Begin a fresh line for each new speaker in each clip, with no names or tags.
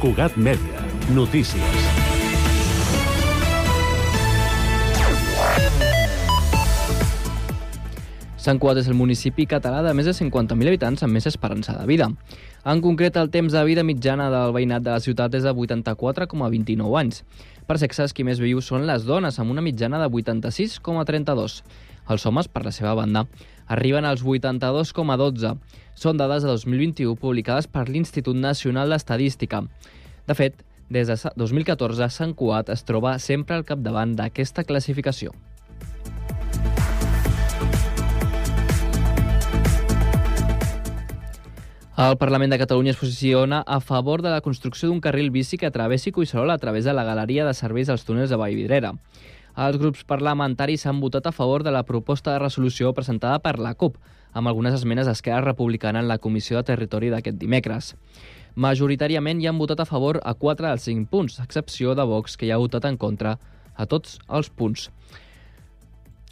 Cugat Mèdia. Notícies.
Sant Cugat és el municipi català de més de 50.000 habitants amb més esperança de vida. En concret, el temps de vida mitjana del veïnat de la ciutat és de 84,29 anys. Per sexes, qui més viu són les dones, amb una mitjana de 86,32. Els homes, per la seva banda, arriben als 82,12. Són dades de 2021 publicades per l'Institut Nacional d'Estadística. De fet, des de 2014, Sant Cugat es troba sempre al capdavant d'aquesta classificació. El Parlament de Catalunya es posiciona a favor de la construcció d'un carril bici que travessi Coixarol a través de la galeria de serveis als túnels de Vallvidrera. Els grups parlamentaris han votat a favor de la proposta de resolució presentada per la CUP, amb algunes esmenes d'Esquerra Republicana en la Comissió de Territori d'aquest dimecres. Majoritàriament hi han votat a favor a 4 dels 5 punts, a excepció de Vox, que hi ha votat en contra a tots els punts.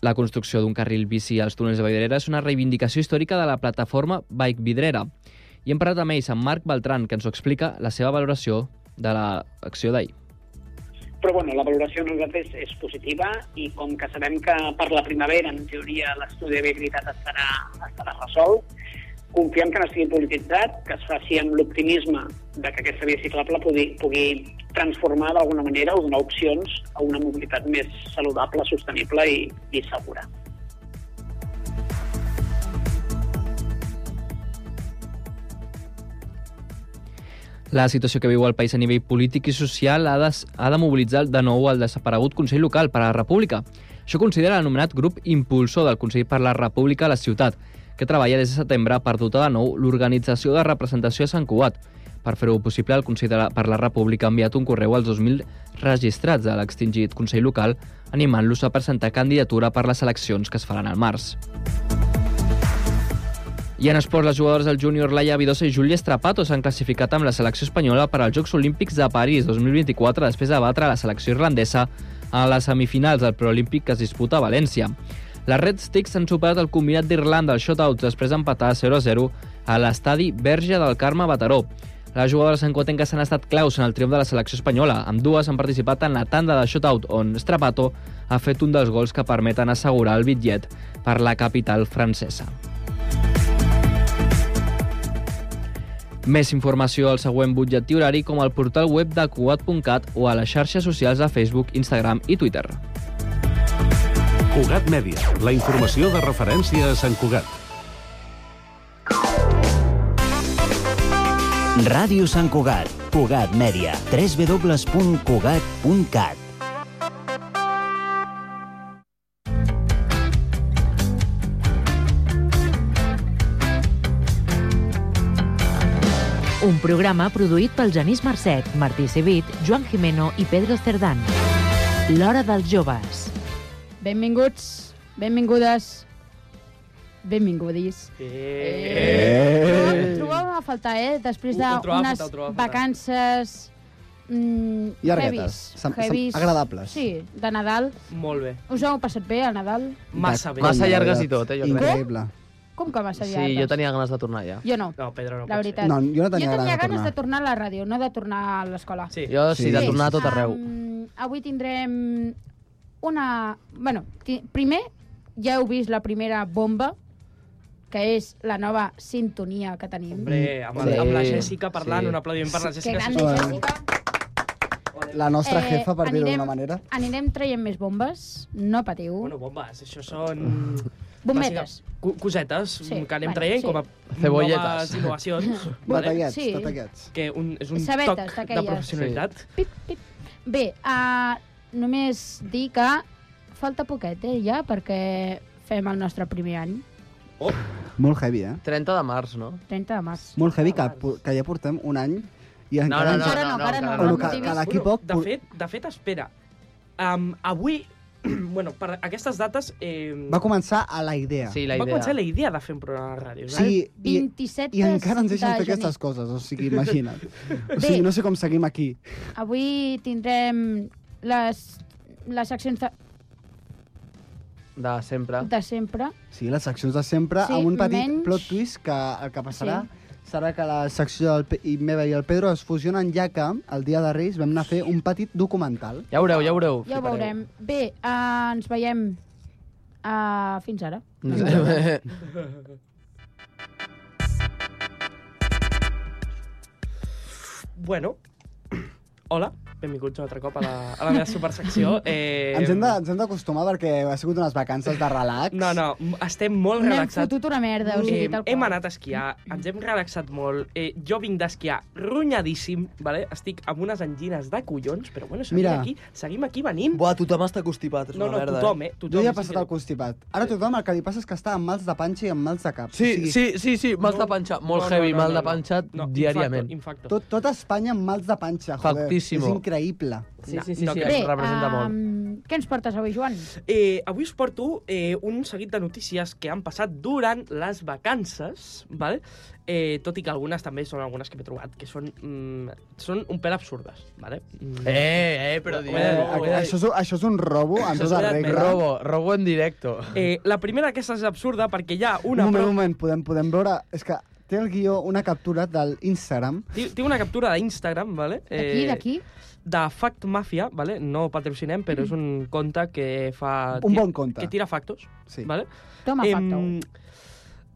La construcció d'un carril bici als túnels de Vallvidrera és una reivindicació històrica de la plataforma Bike Vidrera, i hem parlat amb ells, amb Marc Beltran, que ens ho explica la seva valoració de l'acció d'ahir.
Però bueno, la valoració a nosaltres és, és positiva i com que sabem que per la primavera, en teoria, l'estudi de viabilitat estarà, estarà resolt, confiem que no estigui polititzat, que es faci amb l'optimisme de que aquesta via ciclable pugui, pugui transformar d'alguna manera o donar opcions a una mobilitat més saludable, sostenible i, i segura.
La situació que viu el país a nivell polític i social ha de, ha de mobilitzar de nou el desaparegut Consell Local per a la República. Això considera l'anomenat grup impulsor del Consell per la República a la ciutat, que treballa des de setembre per dotar de nou l'organització de representació a Sant Cugat. Per fer-ho possible, el Consell per la República ha enviat un correu als 2.000 registrats de l'extingit Consell Local animant-los a presentar candidatura per les eleccions que es faran al març. I en esport, les jugadores del júnior Laia Vidosa i Júlia Estrapato s'han classificat amb la selecció espanyola per als Jocs Olímpics de París 2024 després de batre la selecció irlandesa a les semifinals del preolímpic que es disputa a València. Les Red Sticks han superat el combinat d'Irlanda al shootout després d'empatar 0-0 a l'estadi Verge del Carme Bataró. Les jugadores encotenques han estat claus en el triomf de la selecció espanyola. Amb dues han participat en la tanda de shootout, on Strapato ha fet un dels gols que permeten assegurar el bitllet per la capital francesa. Més informació al següent butlletí horari com al portal web de cugat.cat o a les xarxes socials de Facebook, Instagram i Twitter.
Cugat Mèdia, la informació de referència a Sant Cugat.
Ràdio Sant Cugat, Cugat Mèdia, www.cugat.cat.
Un programa produït pel Genís Marcet, Martí Civit, Joan Jimeno i Pedro Cerdán. L'hora dels joves.
Benvinguts, benvingudes, benvingudis. Eh. Eh. Trobàvem a faltar, eh? Després
Ho- ho trobava a
d'unes
faltar, ho trobava a faltar.
vacances... Mm,
Llarguetes.
heavies,
Sem- sem-
heavies.
agradables.
Sí, de Nadal.
Molt bé.
Us ho heu passat bé, al Nadal?
Massa bé.
Com
Massa
m'ha
llargues
agradat.
i tot, eh, jo crec.
Increïble.
Com que massa
Sí,
llargues?
jo tenia ganes de tornar ja.
Jo no,
No, Pedro, no
la
pot
veritat.
No, jo no tenia,
Eh, jo tenia
ganes
ganes
de
de tornar a la ràdio, no de tornar a l'escola.
ser. Sí.
Jo sí,
Sí,
de
sí,
tornar a
sí,
tot arreu.
Um, avui tindrem una... Bueno, ti- primer, ja heu vist la primera bomba, que és la nova sintonia que tenim.
Hombre, amb,
Sí.
el, amb la Jessica parlant,
Sí.
un aplaudiment per la
que
Jessica.
gran
sisplau.
sí.
Jessica.
La nostra
Eh,
jefa, per dir-ho
anirem-
d'una manera.
Anirem traient més bombes, no patiu.
Bueno, bombes, això són...
Bombetes.
bàsica- co- Cosetes
Sí,
que anem
bueno,
traient
sí.
com a
Cebolletes.
noves innovacions.
Batallets,
sí.
batallets.
que un, és un
Cebetes,
toc de
d'aquelles.
professionalitat. Sí.
Pip, pip. Bé, uh, només dir que falta poquet, eh, ja, perquè fem el nostre primer any,
Molt heavy, eh?
30 de març, no?
30 de març.
Molt heavy, que, pu- que ja portem un any i
No,
encara...
no,
ens-
Encara no, encara no,
Bueno,
no
que,
motivis.
que d'aquí poc...
de, fet, de fet, espera. Um, avui, bueno, per aquestes dates... Eh,
Va començar a la idea.
Sí, la
va
idea.
començar la idea de fer un programa de ràdio.
sí i,
27
i encara ens deixen
de
fer
gener.
aquestes coses, o sigui, imagina't. O sigui, no sé com seguim aquí.
Avui tindrem les, les seccions de,
De sempre.
de sempre.
Sí, les seccions de sempre,
Sí,
amb un petit
menys-
plot twist que el que passarà serà que la secció del Pe- i meva i el Pedro es fusionen ja que el dia de Reis vam anar a fer un petit documental.
Ja ho veureu, ja ho veureu.
Ja ho
flipareu.
veurem. Bé, eh, ens veiem eh, fins ara.
Bueno, hola, benvinguts un altre cop a la, a la meva supersecció. Eh,
Ens hem de- ens hem d'acostumar perquè ha sigut unes vacances de relax.
No, no, m- estem molt
N'hem
relaxats.
fotut una merda, o sigui,
Eh,
tal qual.
hem anat a esquiar, ens hem relaxat molt. Eh, jo vinc d'esquiar ronyadíssim, vale? estic amb unes angines de collons, però bueno, seguim
Mira.
aquí, seguim aquí, venim.
Buah, tothom està constipat, és
no, no,
una merda.
tothom, eh? Tothom,
Jo ja he
sí
passat
que-
el constipat. Ara tothom el que li passa és que està amb mals de panxa i amb mals de cap.
Sí,
O sigui,
sí, sí, sí, mal de panxa, molt heavy, mal de panxa diàriament.
Infacto, infacto.
Tot, tot Espanya amb mals de panxa, joder.
Factíssimo.
És increïble.
Sí, sí, sí,
No
sí,
crec.
ens representa molt.
ehm, què ens portes avui, Joan?
Eh, avui us porto eh, un seguit de notícies que han passat durant les vacances, val? Eh, tot i que algunes també són algunes que m'he trobat, que són, mm, són un pèl absurdes. Vale? Mm.
Eh, eh, però
Ho he
digueu.
de dir,
ho he
ho
de dir.
això, és, això és un robo en
Això és
tota
un
regla.
Robo, robo en directo.
Eh, la primera d'aquestes és absurda perquè hi ha
Un
una...
moment,
prova-
un moment, podem, podem veure... És que té el guió una captura del Instagram.
Tinc tinc una captura d'Instagram, vale? Eh,
D'aquí, d'aquí?
De Fact Mafia, vale? No patrocinem, però és un conte que fa...
Un bon conte.
Que tira factos,
Sí.
vale?
Toma,
Em,
facto.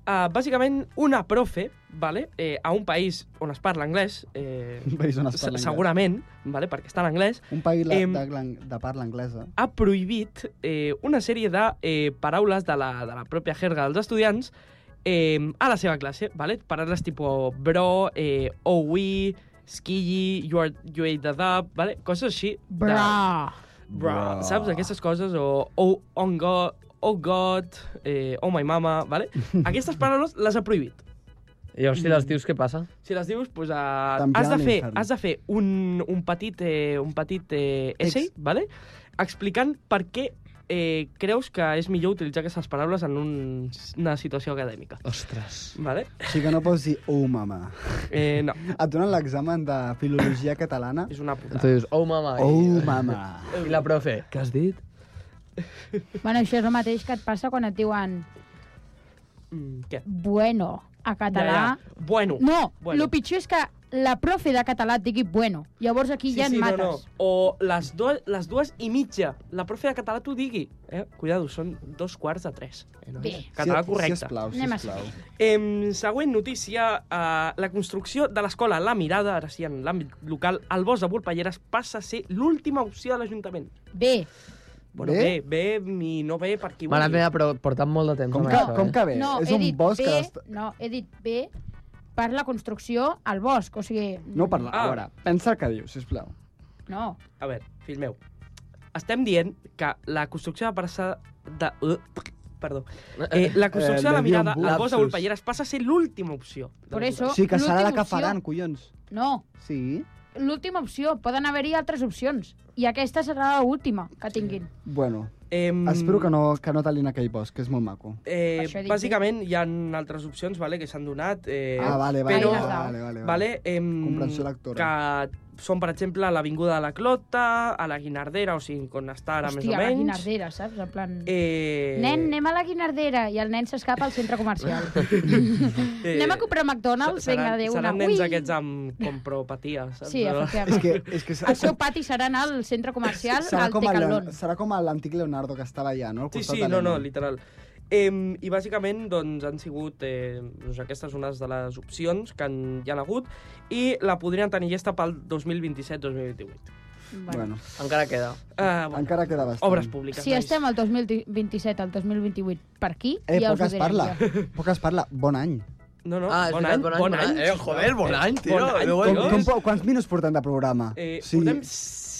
ah, bàsicament, una profe, vale? Eh, a un país on es parla anglès, eh,
Un país on es
se-
parla anglès.
segurament, vale? perquè està en anglès,
Un país la-
Em-
de, glan- de parla anglesa.
ha prohibit eh, una sèrie de eh, paraules de la, de la pròpia jerga dels estudiants eh, a la seva classe, vale? paraules tipus bro, eh, owi, skilly, you, are, you ate that up, vale? coses així. de-
Bra.
Bra. Saps? Aquestes coses, o oh, on God, oh God, eh, oh my mama, vale? Aquestes paraules les ha prohibit.
I hòstia, els tios, què passa?
Mm.
Si les dius, pues, uh,
T'envien
has, de
a
fer,
l'infern.
has de fer un, un petit, eh, un petit eh,
Text.
essay, vale? explicant per què eh, creus que és millor utilitzar aquestes paraules en un, una situació acadèmica.
Ostres.
Vale?
O sigui que no pots dir, oh, mama.
Eh, no,
Et donen l'examen de filologia catalana.
és eh? una puta.
Tu dius, oh, mama. i-
Oh, mama.
I la profe, què has dit?
Bueno, això és el mateix que et passa quan et diuen
Mm, què?
bueno a català.
Bueno.
No,
Bueno.
bueno. lo pitjor és que la profe de català et digui bueno. Llavors aquí ja et mates.
No, no. O les, do les dues i mitja. La profe de català t'ho digui. Eh? Cuidado, són dos quarts de tres. Eh, nois?
Bé.
Català
Si-
correcte.
Sisplau,
Anem a
sisplau.
Em, següent notícia, eh, la construcció de l'escola La Mirada, ara sí en l'àmbit local, al bosc de Volpelleres passa a ser l'última opció de l'Ajuntament.
Bé,
Bueno, bé,
Bé?
bé, ni no bé, per qui
Mare
vulgui.
meva, però portant molt de temps.
Com
amb
que,
això,
com
eh?
que bé?
no,
és
he
un
dit
bosc
bé,
que... està-
no, he dit bé per la construcció al bosc, o sigui...
No parla,
Ah.
a veure, pensa el que diu, sisplau.
No,
A veure, fill meu, estem dient que la construcció de passa de... Uh, perdó. Eh, la construcció
Eh,
de La
li
Mirada
diuen
al bosc de
lapsus.
Volpelleres passa a ser l'última opció. de
Por
l'Ajuntament.
O
No,
sigui que serà la
l'última
que
opció.
faran, collons.
no.
Sí.
L'última opció. Poden haver-hi altres opcions. I aquesta serà l'última que tinguin.
Bueno,
Em,
espero que no, que no talin aquell bosc, que és molt maco.
Eh,
Això he dit
bàsicament hi ha altres opcions vale, que s'han donat. Eh,
ah, vale, vale,
però,
Ahí les dau.
vale, vale, vale.
Vale, em,
Comprensió lectora.
Que són, per exemple, a l'Avinguda de la Clota, a la Guinardera, o sigui, on està ara
Hòstia,
més
la
o menys.
guinardera, saps? En plan... Eh...
Eh,
Nen, anem a la guinardera. I el nen s'escapa al centre comercial.
eh,
anem a comprar McDonald's?
seran-
Vinga, adéu.
Seran
una.
nens
Ui!
aquests amb compropatia, saps?
Sí,
És
efectivament.
que, és que
El seu pati serà anar al centre comercial,
serà,
al
com el,
Tecalón.
Leon- serà com l'antic Leonardo que estava allà, no? Al
Sí,
costat
sí,
de
no, no,
Lennon.
literal. Em, I bàsicament doncs, han sigut eh, doncs, aquestes unes de les opcions que han, hi han hagut i la podrien tenir llesta pel 2027-2028.
Bueno,
Encara queda.
Uh,
encara queda bastant.
Obres públiques.
Si
nois.
estem al 2027, al 2028, per aquí,
Eh,
ja
poc
us ho
es
diré.
parla,
jo.
poc es parla. Bon any.
No, no,
Ah, és
bon, any,
veritat, bon any,
bon
bon
any.
any. Eh, joder, bon any, tio. eh?
Bon any,
Déu
tio.
Oi,
Com,
oi?
com, po- quants minuts portem de programa?
Eh, sí.
Sí.
Portem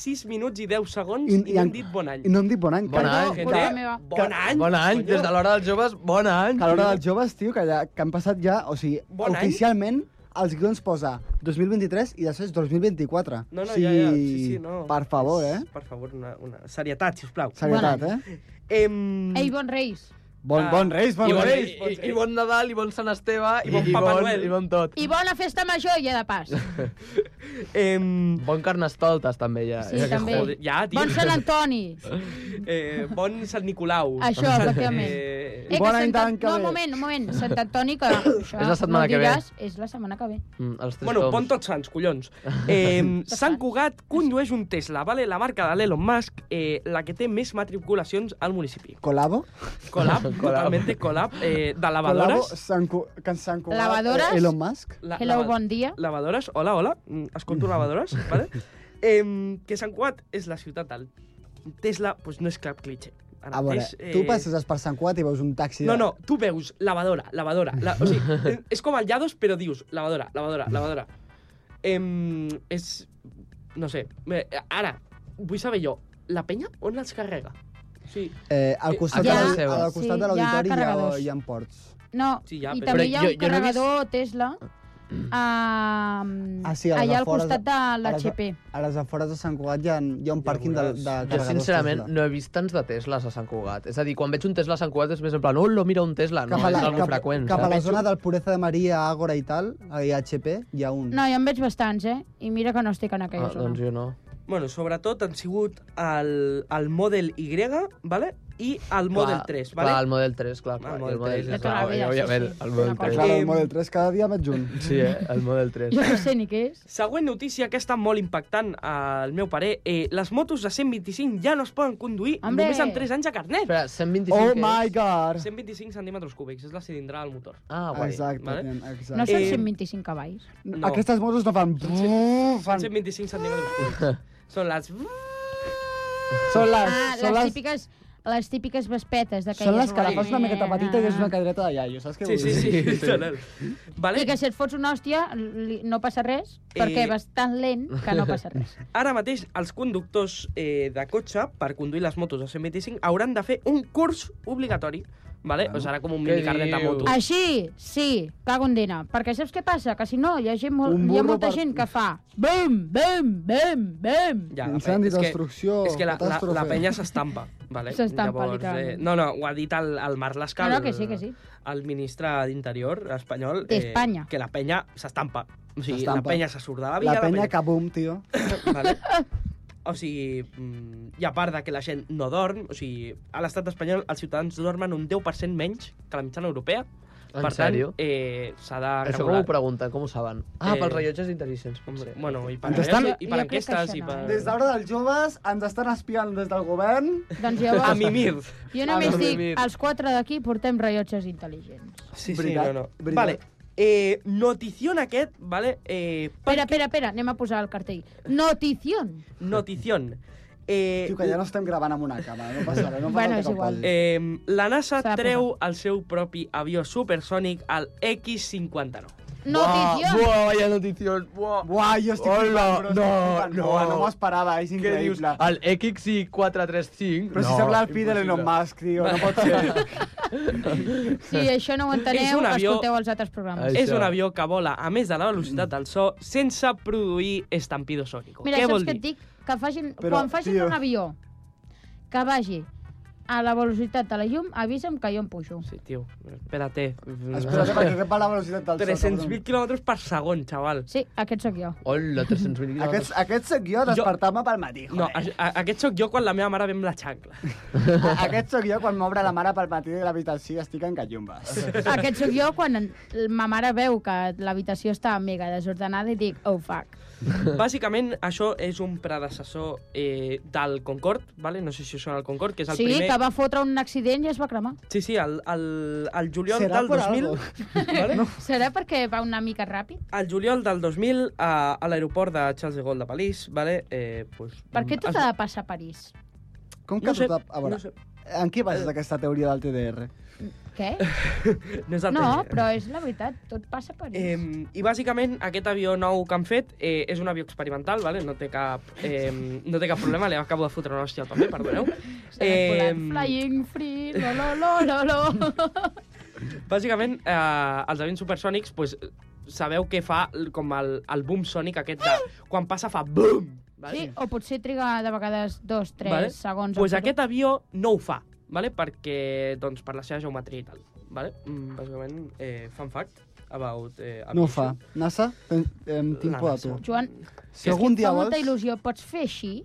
6 minuts i 10 segons
I-
i,
i
i hem
en-
dit bon any.
I no hem dit bon any.
Bon
que-
any,
que-
Gente,
Bona meva.
bon any.
eh, Bon any,
Coño.
des de l'hora dels joves, bon any.
Que a l'hora dels joves, tio, que, ja, que han passat ja... O sigui,
Bon any.
oficialment, els guions posa 2023 i després 2024.
No, no,
o sigui,
ja, ja. Sí, sí, no.
Per favor,
És-
eh?
Per favor, una, una serietat, sisplau.
Serietat, eh?
Em...
Ei, bons reis.
Bon,
Ah.
bon Reis, bon
I, bon,
Reis.
i, i, bon Nadal, i bon Sant Esteve, i bon Papa Noel. I bon tot.
I bona festa major, ja de pas.
Em,
Bon Carnestoltes, també, ja.
Sí,
ja que
també.
joder.
ja, tio.
Bon Sant Antoni.
Eh, bon Sant Nicolau.
Això,
Sant-
efectivament.
Eh,
Eh,
Bona
que Sant
nit,
An-
any que
No, un
ve.
moment, un moment. Sant Antoni, que això
És la setmana
no
que ve.
diràs, És la setmana que ve.
Mm, els tres
Bueno,
toms.
pon tots sants, collons. Eh, Sant
Sants.
Cugat condueix un Tesla, vale? la marca de l'Elon Musk, eh, la que té més matriculacions al municipi.
Colabo?
Colab, totalmente colab, eh, de
Colabo,
lavadores.
Sant, Cu Can Sant Cugat,
Lavadores?
eh, Elon Musk.
La-
Hello,
lava-
bon dia.
Lavadores, hola, hola, mm, escolto lavadores, vale? Eh, que Sant Cugat és la ciutat del Tesla, doncs no és cap cliché. Ara
A veure,
mateix,
tu passes per Sant Cugat i veus un taxi...
eh, No,
de-
no, tu veus lavadora, lavadora. La, o sigui, eh, és com el Llados, però dius lavadora, lavadora, lavadora. Em, és... No sé. Eh, Ara, vull saber jo, la penya on els carrega? O sigui,
Eh, al costat,
Ja.
de, l'au- al
Sí,
costat
hi ha
de l'auditori hi, ha,
carregadors.
hi ha ports.
No,
Sí, ja,
i
però-
també
Però
hi ha
jo- jo
un
no he vist-
carregador Tesla ehm,
Ah, sí, a les
allà al
afores de-
costat de
a les-
l'HP.
A les afores de Sant Cugat hi ha, hi ha un pàrquing de, de
Jo,
carregadors
sincerament,
Tesla.
no he vist tants de Teslas a Sant Cugat. És a dir, quan veig un Tesla a Sant Cugat és més en plan, oh, mira un Tesla, no,
Cap a, la,
és algo
cap,
freqüent.
cap a la
saps?
zona del Pureza de Maria, Ágora i tal, a IHP, hi ha un.
No, jo en veig bastants, eh? I mira que no estic en aquella
Ah,
zona.
doncs jo no.
bueno, sobretot han sigut el, el Model Y, vale? i el Model 3, vale?
Clar, el Model 3, clar. clar,
El
i
Model 3,
és
de
tota la
clar,
vida, sí,
òbviament,
sí.
el Model
Una cosa.
3.
Clar,
Em-
el Model 3 cada dia més junt.
Eh, Sí, eh? el Model 3.
Jo no sé ni què és.
Següent notícia, aquesta molt impactant, al meu parer. Eh, les motos de 125 ja no es poden conduir
Hombre.
només amb 3 anys a carnet.
Espera, 125
Oh
que és?
my god!
125 centímetres cúbics, és la cilindrada del motor.
Ah, guai.
Exacte,
Vale.
tenen,
No
exacte. Eh,
són
Eh,
125 cavalls.
no.
Aquestes motos no fan... brrr, fan...
125 centímetres cúbics. Són les...
Són les,
Ah,
són
les
les,
típiques, les típiques vespetes d'aquelles.
són les que la fas una miqueta
rodaneres.
petita i és una cadireta de iaio, saps què
Sí,
vull
sí,
dir?
sí. sí, sí. Vale?
I que si et fots una hòstia li- no passa res, perquè vas tan lent que no passa res.
Ara mateix els conductors eh, de cotxe per conduir les motos de 125 hauran de fer un curs obligatori. Vale? O serà com un
Què
mini carnet de
dius?
moto.
Així, sí, cago en dina. Perquè saps què passa? Que si no, hi ha, gent molt,
Un
hi ha
burro
molta
per-
gent que fa bum, bum, bum, bum.
Ja, eh,
Incendi,
és que-
destrucció,
És que la, la, la
catàstrofe.
penya s'estampa. Vale?
S'estampa,
Llavors, eh,
literalment.
no, no, ho ha dit el, el Marc Lascal,
No, no, que sí, que sí.
el ministre d'Interior espanyol, eh,
D'Espanya.
que la penya s'estampa. O sigui, la
S'estampa.
penya se surt de la vida.
La penya que boom, tio.
vale? O sigui, mm, i a part de que la gent no dorm, o sigui, a l'estat espanyol els ciutadans dormen un 10% menys que la mitjana europea.
En
per
sèrio?
tant, eh, s'ha de
Això com
regular.
ho pregunten? Com ho saben? Ah,
Eh,
pels rellotges intel·ligents. potser.
Bueno, i per,
Ens estan-
i per
Jo crec que
enquestes
això
i
no. eh?
per...
Des d'ara dels joves ens estan espiant des del govern.
A
Doncs llavors,
mimir.
jo només
a mi,
dic,
mira.
els quatre d'aquí portem rellotges intel·ligents.
Sí, sí,
Veritat,
no, no.
veritat.
Vale. Eh, notició en aquest, vale? Eh,
Espera, espera, espera, anem a posar el cartell. Notición.
notició. Eh,
Tio, que ja no estem gravant amb una càmera, no passa res. No passa
Bueno,
res,
és
que
igual.
calli.
eh, la NASA
S'ha de
treu el seu propi avió supersònic, el X-59.
Notición.
Buah, buah, vaya notición. Buah.
Buah, jo estic
Hola,
flipant, bro, estic
no,
flipant.
no.
Buah, no m'ho esperava, és
Què dius?
increïble.
El XI435?
Però si
No,
sembla el fill de
impossible.
l'Elon Musk, tio, no pot ser.
Si això no ho
És
enteneu,
un avió.
escolteu els altres programes.
Ai.
És
Això.
un avió que vola a més de la velocitat del so sense produir estampido sònico.
Mira,
Què
saps
vol
què
dir?
et dic? Que facin,
Però,
quan facin
tio.
un avió que vagi a la velocitat de la llum, avisa'm que jo em pujo.
Sí, tio, espérate.
Espera't, perquè rep a la velocitat del sol.
300.000 km per segon, xaval.
Sí, aquest sóc jo.
Hola, 300.000
cabrón. Aquest,
quilòmetres.
aquest sóc jo, despertar-me pel matí,
No,
joder.
a, a, aquest sóc jo quan la meva mare ve amb la xancla.
A- Aquest sóc jo quan m'obre la mare pel matí de l'habitació i estic en gallumbes.
Aquest sóc jo quan en- ma mare veu que l'habitació està mega desordenada i dic, oh, fuck.
Bàsicament, això és un predecessor eh, del Concorde, vale? no sé si us sona el Concorde, que és el
Sí,
primer...
que va fotre un accident i es va cremar.
Sí, sí, el, el, el juliol
Serà
del
por
2000...
algo.
Vale? No.
Serà perquè va una mica ràpid?
El juliol del 2000, a, a l'aeroport de Charles de Gaulle de París, vale? eh, pues,
Per què tota tot
es-
ha de passar a París?
Com que
No sé,
tot a- a veure,
no sé.
en què bases aquesta teoria del TDR?
Què?
No, és el
No,
primer.
però és la veritat, tot passa a
Eh,
París.
I bàsicament aquest avió nou que han fet eh, és un avió experimental, vale? no, té cap, eh, no té cap problema, li acabo de fotre una hòstia també, perdoneu.
Eh, Flying free, lo, lo, lo, lo, lo.
bàsicament, eh, els avions supersònics, pues, sabeu què fa l- com el, el boom sònic aquest de... Quan passa fa boom! Vale?
Sí, o potser triga de vegades dos, tres
Vale.
segons.
Pues
a fer-ho.
aquest avió no ho fa. vale? perquè doncs, per la seva geometria i tal. Vale? Mm, bàsicament, eh, fun fact about... Eh,
No ho fa. NASA, em, em tinc
La
por a
NASA.
tu.
Joan,
Si algun
fa
dia
molta
vols...
il·lusió. Pots fer així,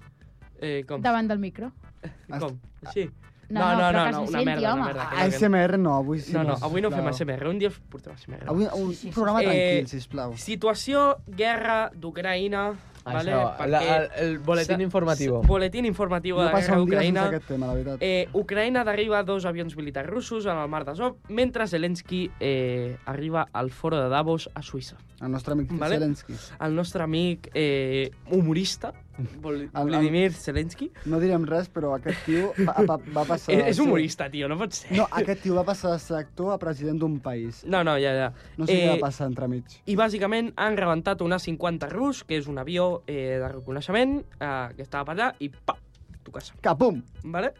Eh, com?
davant del micro?
Com? Així?
Ah. No,
No,
no,
no,
però
no,
que
no,
se
una
senti,
merda, una
home.
Ah,
merda.
ASMR no, avui sí.
No, no, avui no fem
sisplau.
ASMR, un dia us portem ASMR.
Avui un
sí, sí.
programa
Eh,
tranquil, sisplau.
Situació, guerra d'Ucraïna, vale?
Això, la,
Perquè-
el, el boletín
Sa-
informatiu.
s- Boletín informatiu de
No
la
passa
guerra
un dia sense
d'Ucraïna.
aquest tema, la veritat.
Eh, Ucraïna derriba dos avions militars russos en el mar d'Azov, mentre Zelensky eh, arriba al foro de Davos a Suïssa.
El nostre amic
vale.
Zelensky.
El nostre amic eh, humorista, Vol-
El- el-
Vladimir Zelensky,
No direm res, però aquest tio va, va, va passar...
eh,
de
és
ser-
humorista, tio, no pot ser.
No, aquest tio va passar de ser actor a president d'un país.
No, no, ja, ja.
No sé què
Eh,
va passar entremig.
I bàsicament han rebentat un A-50 rus, que és un avió eh, de reconeixement, eh, que estava per allà, i pa, tu casa.
Capum!
Vale?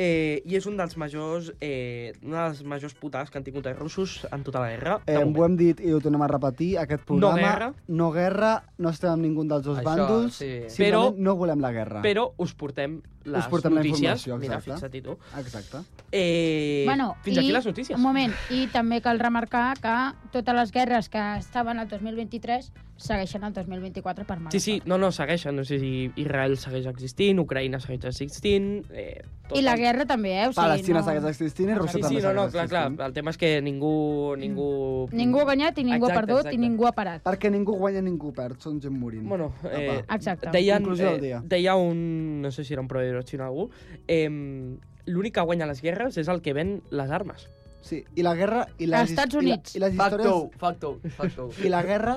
Eh, I és un dels majors, eh, una de les majors putades que han tingut els russos en tota la guerra. de
Eh,
moment.
ho hem dit i ho tornem a repetir, aquest programa...
guerra.
No guerra, no estem amb ningú dels dos
Això,
bàndols,
sí.
simplement
Però-
no volem la guerra.
Però us portem les
Us portem la
notícies.
informació,
Mira,
exacte.
fixa't tu.
Exacte.
Eh,
Bueno,
fins
i-
aquí les notícies.
Un moment, i també cal remarcar que totes les guerres que estaven al 2023 segueixen al 2024 per mal.
Sí, sí, no, no, segueixen. No sé si Israel segueix existint, Ucraïna segueix existint... Eh, tot
I la
el-
guerra també, eh? O sigui,
Palestina
no...
segueix existint i Rússia
Sí, sí,
també
no, no,
segueix
clar, clar.
existint.
El tema és que ningú... ningú...
Mm. Ningú ha guanyat i ningú
Exacte,
ha perdut
exacte.
i ningú ha parat.
Perquè ningú guanya, ningú perd, són gent morint.
Bueno, eh,
Apa.
Exacte.
deien,
Conclusió del
eh,
dia.
deia un... No sé si era un proveïdor xino o algú. Eh, L'únic que guanya les guerres és el que ven les armes.
Sí, i la guerra... I les,
Als Estats
his-
Units.
I, la, i les
Facto,
històries...
facto, facto.
I la guerra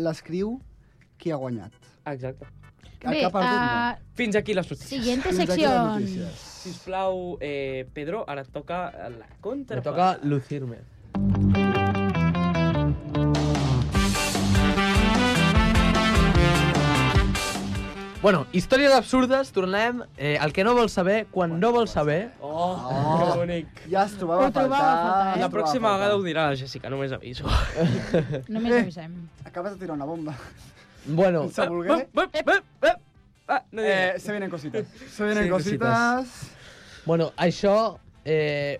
l'escriu qui ha guanyat.
Exacte.
El que ha perdut,
eh,
Fins aquí les notícies.
siguiente
Fins aquí les
secció.
notícies.
Sisplau, eh, Pedro, ara et toca la contra.
Me toca lucirme. Bueno, històries absurdes, tornem eh, al que no vols saber quan no vols saber.
Oh,
Oh.
que bonic.
Ja es trobava
Ho
a
trobava
faltar.
a
es
faltar, eh?
Ah, La
La
trobava
pròxima
a
vegada ho
faltar.
dirà la Jessica, només aviso.
Només
Eh.
avisem.
Acabes de tirar una bomba.
Bueno,
Sense voler.
Bup, bup, bup. Ah, no diré.
Eh, se vienen cositas. Se vienen
Sí,
cositas.
bueno això eh,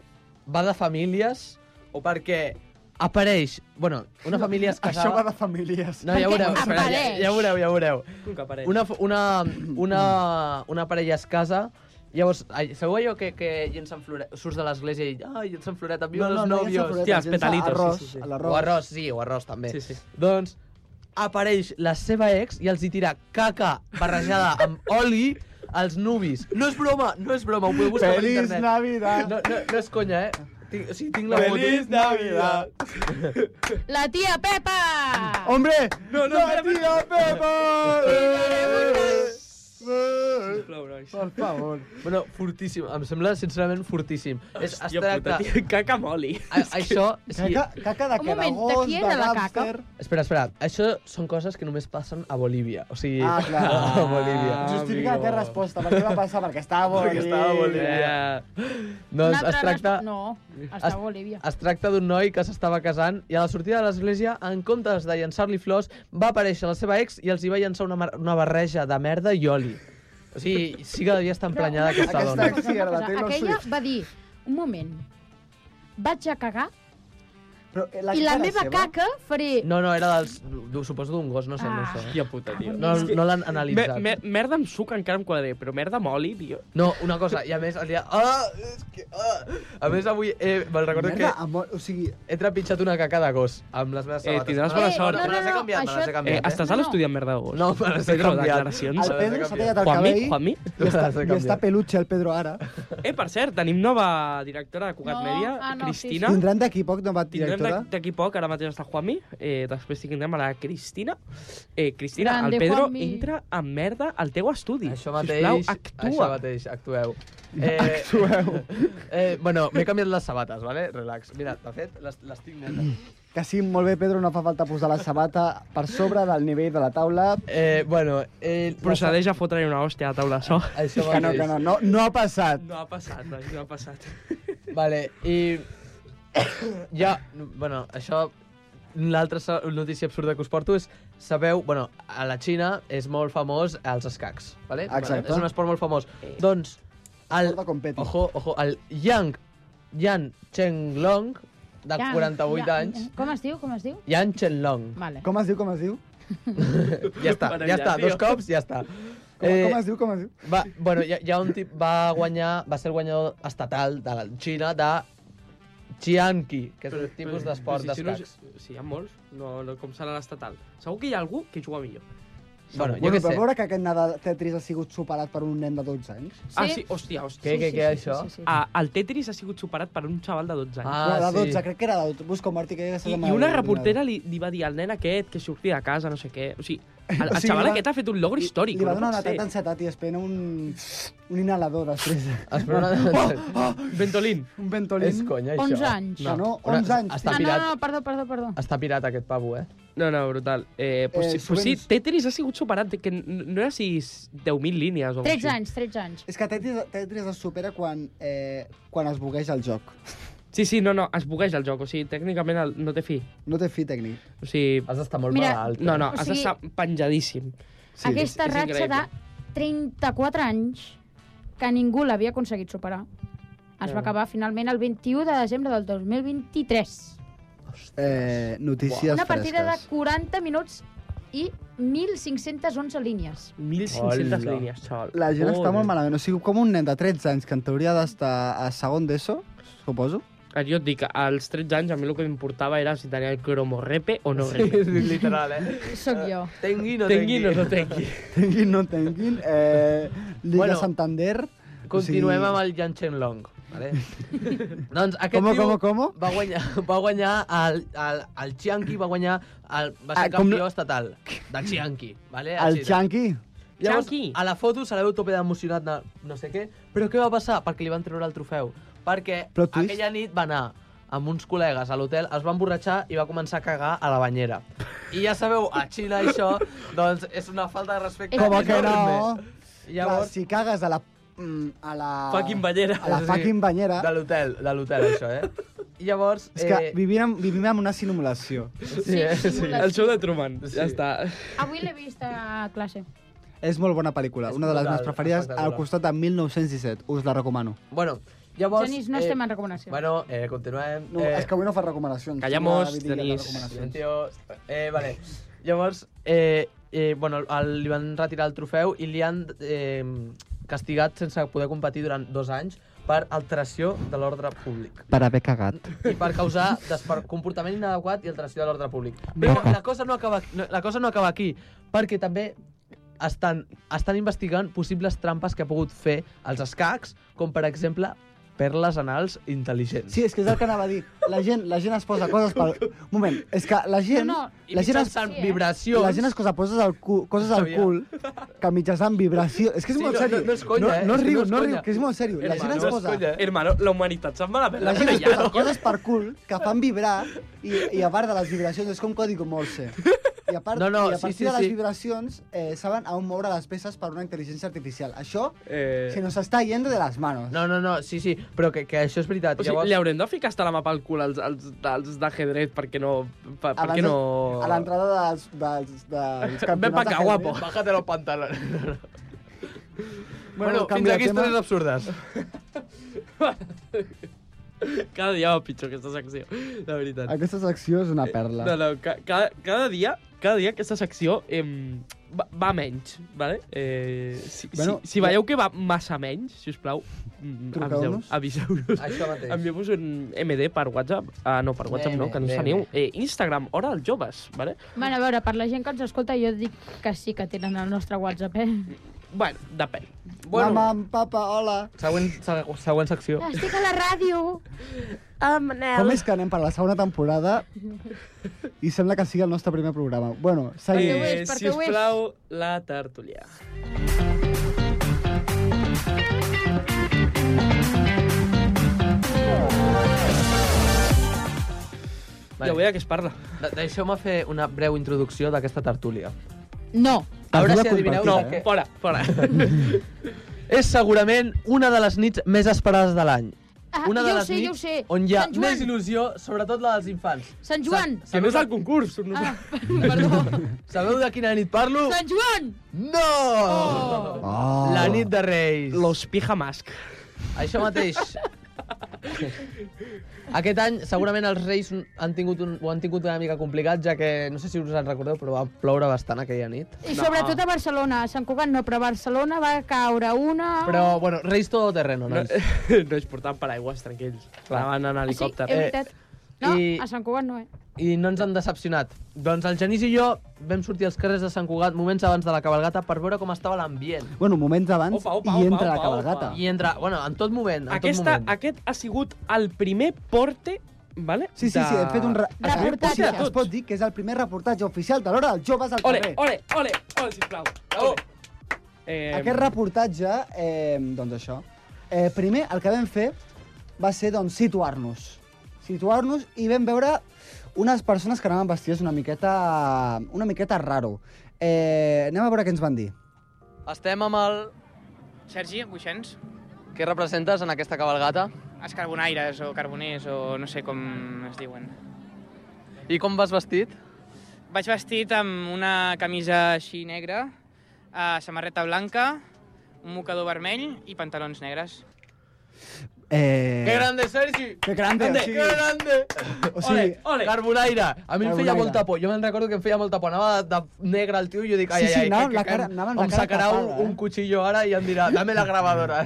va de famílies o perquè apareix... Bueno, una família es
Això
casava...
va de famílies.
No, ja
Perquè
veureu, espera, ja,
apareix.
ja veureu, ja veureu.
Un que apareix.
Una, una, una, una parella es casa, llavors, ai, sabeu allò que, que llencen floret, surts de l'església i ah, llencen floret, envio no, no, els
hi ha
nòvios.
floretes,
Hòstia, els
gens a
petalitos,
Arròs,
sí, sí, sí.
a
o
l'arròs.
arròs, sí, o arròs també.
Sí, sí.
Doncs apareix la seva ex i els hi tira caca barrejada amb oli als nuvis. No és broma, no és broma, ho podeu buscar per
Feliz
internet.
Navidad.
No, no, no és conya, eh? Tinc, o sigui, tinc la
Feliz
foto.
Navidad.
La tia Pepa!
Hombre,
No, no,
la
espera,
tía Pepa.
Sisplau, nois.
Por favor.
Bueno, fortíssim, em sembla sincerament fortíssim. És, es
Hòstia puta,
tracta...
tio, caca moli.
A, això... Sí,
Caca, caca de
Un
què?
moment, de
gos,
qui era la caca?
gàngster?
Espera, espera. Això són coses que només passen a Bolívia. O sigui,
Ah, clar.
a Bolívia.
Ah,
Justifica
amigo.
la teva resposta. Per què va passar? Perquè estava bolit.
Perquè estava bolit.
Eh,
Doncs
Una
es
altra
tracta,
respo- No, està
Es-
a Bolívia.
es tracta d'un noi que s'estava casant i a la sortida de l'església, en comptes de llançar-li flors, va aparèixer la seva ex i els hi va llançar una, mar- una barreja de merda i oli. O sigui, sí que devia estar emprenyada aquesta
Aquesta
dona.
ex sí, era la
Cosa,
Taylor
Aquella
Swift.
va dir, un moment, vaig a cagar
Però eh, la
i la
cara
meva
seva?
caca faré...
No, no, era dels... du- Suposo d'un gos, no sé, no
Ah.
sé.
hòstia puta, tio.
No, no l'han
Me,
analitzat.
me, merda amb suc encara em quadraré, però merda amb oli, tio.
No, una cosa, i a més, el dia... Ah, és que... Ah. A més, avui eh, me'n recordo que
Merda, amor, o sigui,
he trepitjat una caca de gos amb les
Eh,
meves sabates.
tindràs
Me les-
bona sort.
Me les he
Eh, no, no,
canviat, me
això-
les he
Eh,
canviat. eh?
estàs
No,
a
no.
l'estudiant merda de gos?
No, me les he
Pedro,
canviat.
declaracions.
el
S'ha de
Pedro s'ha
canviar.
tallat el
Juanmi,
cabell i
Juanmi.
està,
S'ha de
i
canviar.
està peluche el Pedro ara.
Eh, per cert, tenim nova directora de Cugat
No,
Mèdia,
ah, no, sí,
Cristina.
Tindran d'aquí poc nova
Tindrem
directora.
d'ac- d'aquí poc, ara mateix està Juanmi, eh, després tindrem a la Cristina. Eh, Cristina,
Grande,
el Pedro
Juanmi.
entra amb merda al teu estudi.
Això mateix,
Sisplau, actua.
això mateix, actueu. Eh, actueu. Eh, bueno, m'he canviat les sabates, vale? Relax. Mira, de fet, les, les tinc
Mm.
netes.
Que sí, molt bé, Pedro, no fa falta posar la sabata per sobre del nivell de la taula.
Eh, bueno, eh,
Procedeix a fotre una hòstia a la taula de so.
Això
Que no,
mateix.
que no, no, no ha passat.
No ha passat, nois, no ha passat.
Vale, i... Ja, bueno, això... L'altra sa- notícia absurda que us porto és, sabeu, bueno, a la Xina és molt famós els escacs, vale?
Exacte.
És un esport molt famós. Doncs, El,
Corda com Peti.
ojo, ojo, el Yang, Yan Chenglong, de
Yang,
48
Yang-
anys.
Com es diu, com es diu?
Yan Chenglong.
Vale.
Com es diu, com es diu?
Ja està, ja
Meravella,
està,
tio.
dos cops, ja està.
Com, com es diu, com es diu?
va, Eh, bueno, hi, ha- hi ha un tip va guanyar, va ser el guanyador estatal de la Xina de Xianqi, que és un tipus d'esport
Però si- si no-
d'escacs.
Si hi ha molts, no, no com serà l'estatal. Segur que hi ha algú que juga millor.
Bueno, jo
Bueno,
què sé.
però veure que aquest nadal Tetris ha sigut superat per un nen de 12 anys.
Ah, sí? Hòstia, hòstia.
Què, què, què, això?
sí.
Ah, el Tetris ha sigut superat per un xaval de 12 anys.
Ah,
no, de 12,
sí.
crec que era de 12. Busco Martí, que ja
I, I una reportera li, li va dir al nen aquest que surti de casa, no sé què. O sigui, el, el
O sigui,
xaval
li va-
aquest ha fet un logro històric.
Li va
no
donar
pot
una
ser.
tanta ansietat i es pren un, un inhalador després.
Espera,
Oh!
una...
Ah, Ventolin.
Un
és
ventolín.
conya, això.
11 anys.
No, no,
Una-
11 anys.
Està
ah, no,
pirat,
no, perdó, perdó, perdó.
està pirat aquest pavo, eh?
No, no, brutal. Eh, pues,
Eh,
eh, pues sí,
Subens-
Tetris ha sigut superat, que n- no era si 10.000 línies o alguna
13
cosa així.
anys, 13 anys.
És que Tetris, Tetris es supera quan, eh, quan es bugueix el joc.
Sí, sí, no, no, es bugueix el joc, o sigui, tècnicament el, no té fi.
No té fi Eh, tècnic.
O sigui,
Has d'estar molt
Mira,
malalt. eh?
no, no,
O
has
sigui-
d'estar penjadíssim.
Sí, Aquesta
és- és
ratxa de 34 anys que ningú l'havia aconseguit superar es va
Ja.
acabar finalment el 21 de desembre del 2023.
Eh, notícies
Una partida de
fresques.
40 minuts i 1.511 línies.
1.500
Hola.
línies, xaval.
La gent està
Joder.
molt malament. O sigui, com un nen de 13 anys que en teoria ha d'estar a segon d'ESO, suposo.
Ah, Jo et dic, als 13 anys a mi el que m'importava era si tenia el cromo repe o no repe.
Sí, literal, eh?
Sóc jo.
Tengui, no
Tengui o no tengui.
Tinguin, no tinguin. Eh, Liga
Bueno,
bueno, Santander.
Continuem amb el Yan Chen Long, vale? doncs aquest
Com,
tio
com, com?
va guanyar, va guanyar el, el, el Chianqui, va guanyar el, va ser
Ah,
ah,
com
campió estatal del Chianqui,
Eh,
vale? A
El
Xina.
Chanqui.
Llavors,
Chianqui.
a la foto se la veu tope d'emocionat de no sé què, però què va passar? Perquè li van treure el trofeu. Perquè
Plot twist.
aquella nit va anar amb uns col·legues a l'hotel, es va emborratxar i va començar a cagar a la banyera. I ja sabeu, a Xina això, doncs és una falta de respecte.
Com que no?
enorme.
Clar,
Llavors,
si cagues a la... mm, A la...
Fucking banyera.
A la
Sí.
fucking banyera.
de l'hotel, de l'hotel, això, eh? Llavors... eh,
És que vivim en, vivim en una simulació.
Sí, eh? sí.
El show de Truman,
Sí.
ja està.
Avui l'he vist a classe.
És molt bona pel·lícula,
És
una de les
brutal,
meves preferides,
espectacular.
al costat de 1917. Us la recomano.
Bueno, llavors... eh,
Genís, no estem en recomanació.
Bueno, eh, continuem.
No, eh, és que avui no fa recomanacions.
Callamos,
Tinc una vidilla de
Denis.
recomanacions.
Silencio. Eh, vale. Llavors, eh, eh, bueno, el, li van retirar el trofeu i li han eh, castigat sense poder competir durant dos anys per alteració de l'ordre públic
Per haver cagat.
i per causar desper... comportament inadequat i alteració de l'ordre públic. Però la cosa, no acaba, no, la cosa no acaba aquí, perquè també estan, estan investigant possibles trampes que ha pogut fer als escacs, com per exemple perles anals intel·ligents.
Sí, és que és el que anava a dir. La gent, la gent es posa coses pel... Un moment, és que la gent...
No, no,
I
la gent es,
mitjançant
Sí, eh?
vibracions...
la gent es posa coses al, cul, coses al
Sabia.
cul que mitjançant vibració... És que és
Sí,
molt
no,
sèrio.
no, no és conya,
no,
eh?
no
És que
riu,
no és
no riu,
conya.
que és molt sèrio. La gent
Hermano,
es
no és
posa...
conya, eh?
Hermano, la humanitat se'n va a la
La gent es posa coses per cul que fan vibrar i, i a part de les vibracions és com código morse. I a part,
No,
i
no,
a
sí,
partir
sí,
de les
sí.
vibracions eh, saben a on moure les peces per una intel·ligència artificial. Això
Eh...
se nos està yendo de les manos.
No, no, no, sí, sí, però que, que això és veritat.
O sigui,
Llavors,
li haurem de ficar hasta la mà pel cul als, als, als d'ajedrez perquè no... Per,
Abans
perquè
de-
no...
A l'entrada dels, dels, dels campionats...
Ven pa acá,
de
guapo.
Henry.
Bájate los pantalones.
Bueno,
Bueno, fins
canvia
aquí
de tema.
històries absurdes.
Cada dia va pitjor aquesta secció, la veritat.
Aquesta secció és una
No,
perla.
no, ca cada, cada dia, cada dia aquesta secció em, va, va menys, vale? Eh, si,
Bueno,
bueno, si, si veieu que va massa menys, si us plau, mm,
Truqueu-nos.
aviseu-nos. Aviseu
Això mateix.
Envieu-vos un MD per WhatsApp. Ah, no, per WhatsApp
Bé,
no, que no
bé,
teniu.
bé.
Eh, Instagram, Hora dels Joves, vale?
Bueno, a veure, per la gent que ens escolta, jo dic que sí que tenen el nostre WhatsApp, eh?
Bueno, depèn.
Bueno. Mama, papa, hola.
Següent, se- següent secció.
Estic a la ràdio!
Com és que anem per la segona temporada i sembla que sigui el nostre primer programa? Bueno, seguim.
ho és, perquè ho és.
sisplau, la tertúlia. Vale. Ja veia que es parla.
De- Deixeu-me fer una breu introducció d'aquesta tertúlia.
No.
A veure
Ajuda
si
a
adivineu...
compartir,
No,
No,
eh?
que
fora, fora.
és segurament una de les nits més esperades de l'any.
Ah,
una de
jo ho
les
sé, jo ho
nits
sé.
on hi ha
Sant Joan.
més il·lusió, sobretot la dels infants.
Sant Joan!
que no és el concurs. No
Ah, perdó.
Sabeu de quina nit parlo?
Sant Joan!
No!
Oh.
Oh.
La nit de Reis.
Los Pijamask.
Això mateix. Aquest any segurament els Reis han tingut un, ho han tingut una mica complicat, ja que no sé si us en recordeu, però va ploure bastant aquella nit.
I sobretot a Barcelona, a Sant Cugat no, però a Barcelona va caure una...
Però, bueno, Reis todo terreno,
No,
nois.
no és portant paraigües, tranquils.
Clar.
Anaven en helicòpter.
Ah, Sí, és veritat. No,
Eh, i-
a Sant Cugat no, eh?
i no ens han decepcionat. Doncs el Genís i jo vam sortir als carrers de Sant Cugat moments abans de la cabalgata per veure com estava l'ambient.
Bueno, moments abans
Opa, opa,
i
opa,
entra
opa,
la cabalgata.
I entre... Bueno, en tot moment, en
Aquesta,
tot moment.
aquest ha sigut el primer porte, vale?
Sí, sí, sí,
de-
hem fet un re-
primer porte de
reportatge.
Sí, es
tots.
pot dir que és el primer reportatge oficial de l'hora dels joves al
Ole,
carrer.
ole, ole, ole, sisplau. Bravo. Eh,
Aquest reportatge, eh, doncs això. Eh, primer, el que vam fer va ser doncs, situar-nos. Situar-nos i vam veure unes persones que anaven vestides una miqueta, una miqueta raro. Eh, anem a veure què ens van dir.
Estem amb el...
Sergi Buixens,
Què representes en aquesta cabalgata?
escarbonaires o carboners o no sé com es diuen.
I com vas vestit?
Vaig vestit amb una camisa així negra, eh, samarreta blanca, un mocador vermell i pantalons negres.
Eh...
Que grande, Sergi!
Que grande,
Grande,
o sigui,
que grande!
o sigui,
ole.
Carbonaire! A mi em feia
Carbonaire.
molta por. Jo me'n recordo que em feia molta por. Anava de, de negre el tio i jo dic... Ai,
Sí, sí,
ai, ai,
anava
que-
amb la
que-
cara-
que
anava amb
Em
la cara
sacarà un,
tapada, eh?
un cuchillo ara i em dirà, dame la gravadora.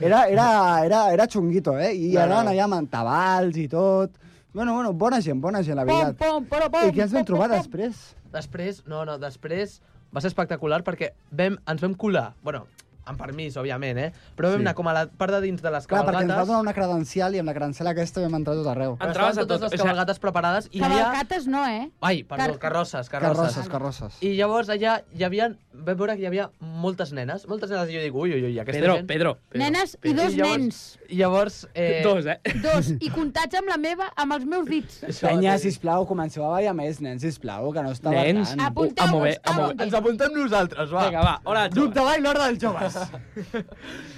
era, era, era, era xunguito, eh? I
No,
anaven
no.
allà amb entabals i tot. Bueno, bueno, bona gent, bona gent, la
Pom,
veritat.
pom, però, pom,
I què ens vam
pom,
trobar
pom, pom.
després?
Després, no, no, després va ser espectacular perquè vam, ens vam colar, bueno, amb permís, òbviament, eh? Però vam
Sí.
anar com a la part de dins de les
Clar, perquè
cabalgates.
ens va donar una credencial i amb la credencial aquesta vam entrar tot arreu.
però
Entraves
estaven
a
totes
tot, o
les
sigui-
cabalgates preparades i allà...
Cavalcates no, eh?
Ai, perdó,
Car-
carrosses, carrosses.
Carrosses, carrosses.
I llavors allà hi havia... Vam veure que hi havia moltes nenes, moltes nenes, i jo dic, ui, ui, ui, aquesta
Pedro,
gent...
Pedro, Pedro.
Nenes i dos
llavors-
nens.
I llavors... Eh,
Dos, eh?
Dos, i comptats amb la meva, amb els meus dits.
això eh,
Penya,
mateix.
sisplau, comenceu a ballar més, nens, sisplau, que no estava
Nens,
tant.
a
Apunteu,
mover, a
ah,
apunteu.
mover.
Ens apuntem nosaltres, va.
Vinga, va, hola,
Grup
joves.
de ball, l'hora dels joves.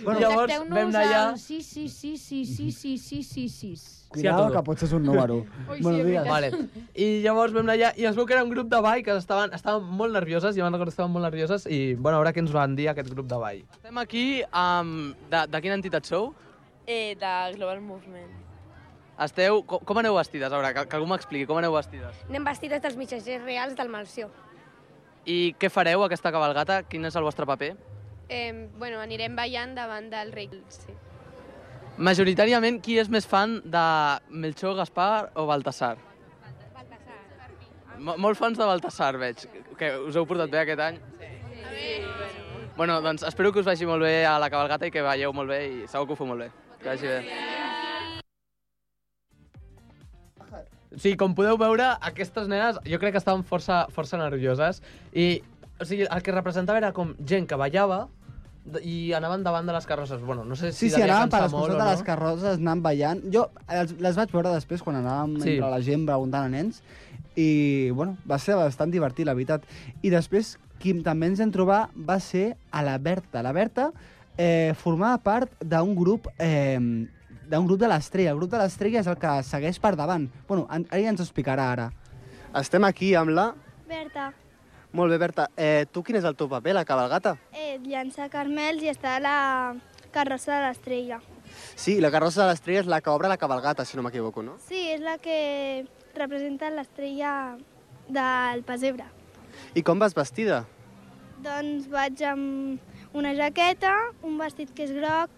bueno, llavors
Contacteu-nos
vam anar allà...
al Sí, sí, sí, sí, sí, sí, sí, sí, sí.
Cuidado,
Sí a
que
todo.
potser és un número.
Ui, sí,
bueno,
és
digues.
Vale. I llavors vam anar allà i es veu que era un grup de ball que estaven, estaven molt nervioses, i me'n recordo que estaven molt nervioses i, bueno, a veure què ens van dir aquest grup de ball. Estem aquí amb... De, de quina entitat sou?
Eh, de Global Movement.
Esteu... Com, com aneu vestides? A veure, que, que algú m'expliqui com aneu vestides.
Anem vestides dels mitjans reals del Malció.
I què fareu aquesta cabalgata? Quin és el vostre paper?
Eh, bueno, anirem ballant davant del rei. Sí.
Majoritàriament, qui és més fan de Melchor, Gaspar o Baltasar? Mo- Molts fans de Baltasar, veig, que us heu portat bé aquest any. Sí. Bueno, doncs espero que us vagi molt bé a la cabalgata i que veieu molt bé i segur que ho feu molt bé. Que vagi bé. Sí, com podeu veure, aquestes nenes jo crec que estaven força, força nervioses i o sigui, el que representava era com gent que ballava d- i anaven davant de les carrosses. Bueno, no sé
Sí, sí,
si devia
anàvem per
cansar
les
molt
costes
o
de
no.
les carrosses anant ballant. Jo els, les vaig veure després quan anàvem
Sí.
sí. entre la gent preguntant a nens i, bueno, va ser bastant divertit, la veritat. I després, qui també ens vam trobar va ser a la Berta. La Berta eh, formava part d'un grup eh, d'un grup de l'Estrella. El grup de Tota l'Estrella és el que segueix per davant. Bueno, en, ella ens ho explicarà ara. Estem aquí amb la...
Berta,
Molt bé, Berta. Eh, tu quin és el teu paper, la cabalgata?
eh, llança carmels i està a la carrossa de l'estrella.
Sí, la carrossa de l'estrella és la que obre la cabalgata, si no m'equivoco, no?
Sí, és la que representa l'estrella del pessebre.
I com vas vestida?
Doncs vaig amb una jaqueta, un vestit que és groc,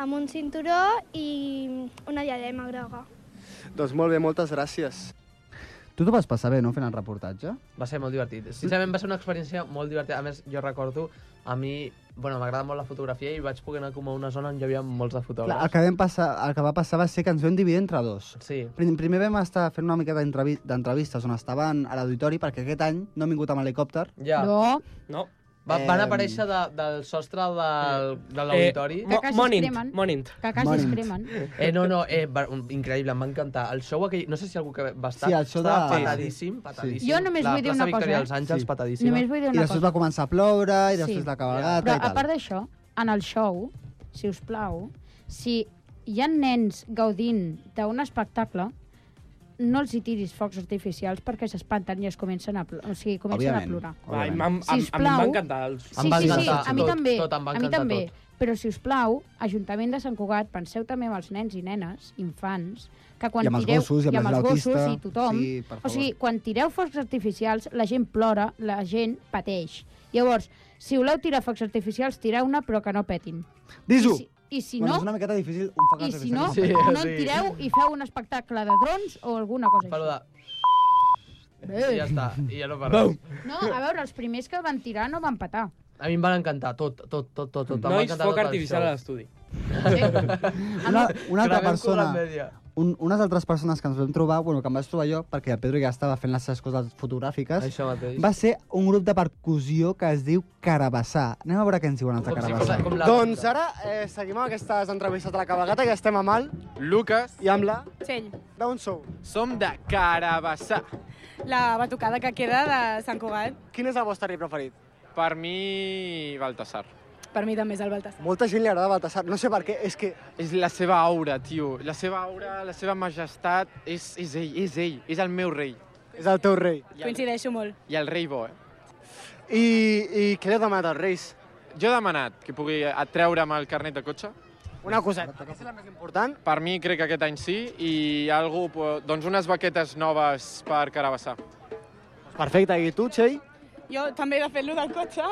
amb un cinturó i una diadema groga.
Doncs molt bé, moltes gràcies. Tu t'ho vas passar bé, no, fent el reportatge?
Va ser molt divertit. Sincerament va ser una experiència molt divertida. A més, jo recordo, a mi, bueno, m'agrada molt la fotografia i vaig poder anar com a una zona on hi havia molts de
Clar, el
fotògrafs.
que, vam passar, el que va passar va ser que ens vam dividir entre dos.
Sí.
Prim- Primer vam estar fent una mica d'entrevi- d'entrevistes on estaven a l'auditori, perquè aquest any no hem vingut amb helicòpter.
Ja. No.
No,
No.
Va, van
Em.
aparèixer de, del sostre del, de l'auditori.
mo- Que
Eh, Monint,
casi cremen.
Monint.
que quasi es
Monint.
cremen.
Eh, no, no, eh, va, un, increïble, em va encantar. El show aquell, no sé si algú que va estar,
Sí, el show de- Sí.
estava patadíssim, patadíssim.
Jo només
la
vull dir
plaça
una cosa,
Victòria
eh?
dels Àngels,
Sí.
patadísima.
Només vull dir
I
una
després
cosa.
va començar a ploure, i després
Sí.
la cabalgata
Però
i
a
tal.
part d'això, en el show, si us plau, si hi ha nens gaudint d'un espectacle, no els hi tiris focs artificials perquè s'espanten i es comencen a, pl o sigui, comencen a
Òbviament.
plorar.
Ai,
Òbviament.
m'han- a, a, mi em
Sisplau.
va encantar. Els...
Em
Sí,
va
sí, sí,
encantar
a mi
tot,
també,
tot, em va
a mi
encantar
també.
tot.
Però, si us plau, Ajuntament de Sant Cugat, penseu també amb els nens i nenes, infants, que quan
I amb els
tireu,
gossos, i amb la gent
gossos
autista.
i tothom...
Sí, per
o sigui, quan tireu focs artificials, la gent plora, la gent pateix. Llavors, si voleu tirar focs artificials, tireu-ne, però que no petin.
Disu!
I si
bueno,
no,
és una miqueta difícil un foc
i si no,
artificial.
no en tireu i feu un espectacle de drons o alguna cosa
Però de...
així.
I ja està, i ja no parles.
No, a veure, els primers que van tirar no van petar.
A mi em van encantar tot, tot, tot, tot. tot. Em va
Nois,
encantar
foc
tot el
artificial
show.
a l'estudi.
Una, una altra
Gravem
persona...
Cugat Media.
Un, unes altres persones que ens vam trobar, bueno, que em vaig trobar jo, perquè el Pedro ja estava fent les seves coses fotogràfiques,
Això mateix.
va ser un grup de percussió que es diu Carabassà. Anem a veure què ens diuen els de Carabassà.
Doncs ara eh, seguim amb aquestes entrevistes de la cabalgata, que estem amb el... Lucas. I amb la...
Txell.
D'on sou?
Som de Carabassà.
La batucada que queda de Sant Cugat.
Quin és el vostre rei preferit?
Per mi, Baltasar.
Per mi també és el Baltasar.
Molta gent li agrada Baltasar, no sé per què, és que...
És la seva aura, tio. La seva aura, la seva majestat, és, és ell, és ell. És el meu rei.
És el teu rei.
I el,
Coincideixo molt.
i el rei bo, eh?
I, i què li heu demanat als reis?
Jo he demanat que pugui atreure'm el carnet de cotxe.
Una coseta, que és la més important.
Per mi, crec que aquest any sí, i algú, po- doncs unes baquetes noves per Carabassà.
Perfecte, i tu, Txell?
Jo també he de fer-lo del cotxe.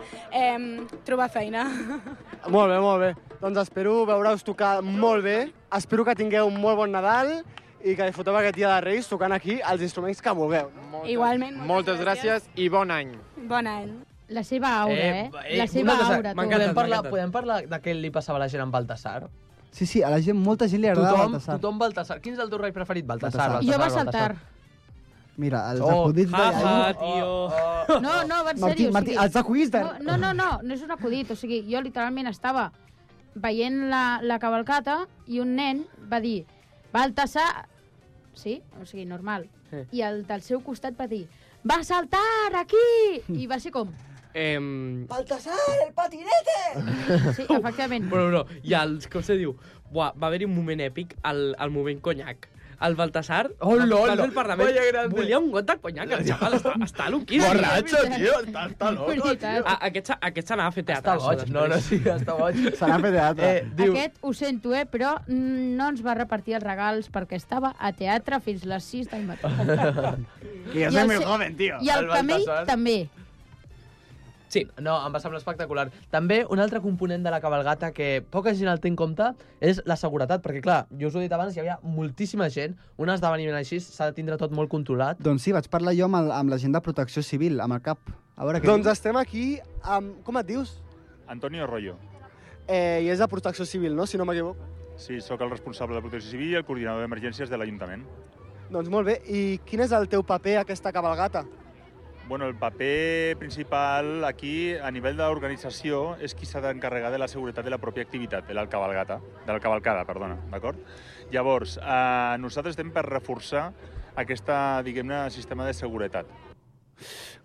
em, trobar feina.
Molt bé, molt bé. Doncs espero veure-us tocar molt bé. Espero que tingueu un molt bon Nadal i que disfruteu aquest dia de Reis tocant aquí els instruments que vulgueu.
Moltes,
Igualment, moltes
moltes gràcies. i bon any.
Bon any.
La seva aura, eh? eh?
una
La seva
cosa,
aura, tu.
podem parlar, podem parlar de què li passava a la gent amb Baltasar?
Sí, sí, a la gent, molta gent li agrada
tothom,
Baltasar.
Tothom Baltasar. Quin és el teu rei preferit? Baltasar,
Baltasar.
Baltasar,
Jo va
Baltasar.
saltar. Mira, els
Oh,
acudits de...
jaja,
tio. No, no, va en
Martí,
sèrio.
Martí,
o sigui,
els acudits de...
No, no, no, no és un acudit. O sigui, jo literalment estava veient la, la cavalcata i un nen va dir Baltasar... Sí, o sigui, normal.
Sí.
I el del seu costat va dir va saltar aquí! I va ser com...
Em,
¡Baltasar, el patinete! Sí, efectivament.
Bueno, no, i els, com se diu? Buah, va haver-hi un moment èpic, el, el moment conyac. El Baltasar,
Oh,
va-
lol,
va fer el Parlament,
vaya grande.
volia un got de conyac, el xaval està, està loquíssim.
Borratxo, tio, està- està loco, Veritat. tio.
A, aquest, s'ha- aquest se n'ha fet teatre.
Està goig. No, no, sí, està goig.
Se n'ha fet teatre.
Eh,
Diu... Aquest ho sento, eh, però mm, no ens va repartir els regals perquè estava a teatre fins les 6 del matí.
Que jo
I
soy
el
muy
se-
joven, tío.
I el
El
camell
Baltasar.
també.
Sí, no, em va semblar espectacular. També un altre component de la cabalgata que poca gent el té en compte és la seguretat, perquè clar, jo us ho he dit abans, hi havia moltíssima gent, un esdeveniment així s'ha de tindre tot molt controlat.
Doncs sí, vaig parlar jo amb, el, amb la gent de protecció civil, amb el CAP. A veure què
Doncs
diu.
estem aquí amb... Com et dius?
Antonio Rollo.
Eh, I és de protecció civil, no? Si no m'equivoco.
Sí, sóc el responsable de Protecció Civil i el coordinador d'emergències de l'Ajuntament.
Doncs molt bé. I quin és el teu paper a aquesta cabalgata?
Bueno, el paper principal aquí, a nivell d'organització, és qui s'ha d'encarregar de la seguretat de la pròpia activitat, de la cabalgata, de la cabalcada, perdona, d'acord? Llavors, eh, nosaltres estem per reforçar aquesta, diguem-ne, sistema de seguretat.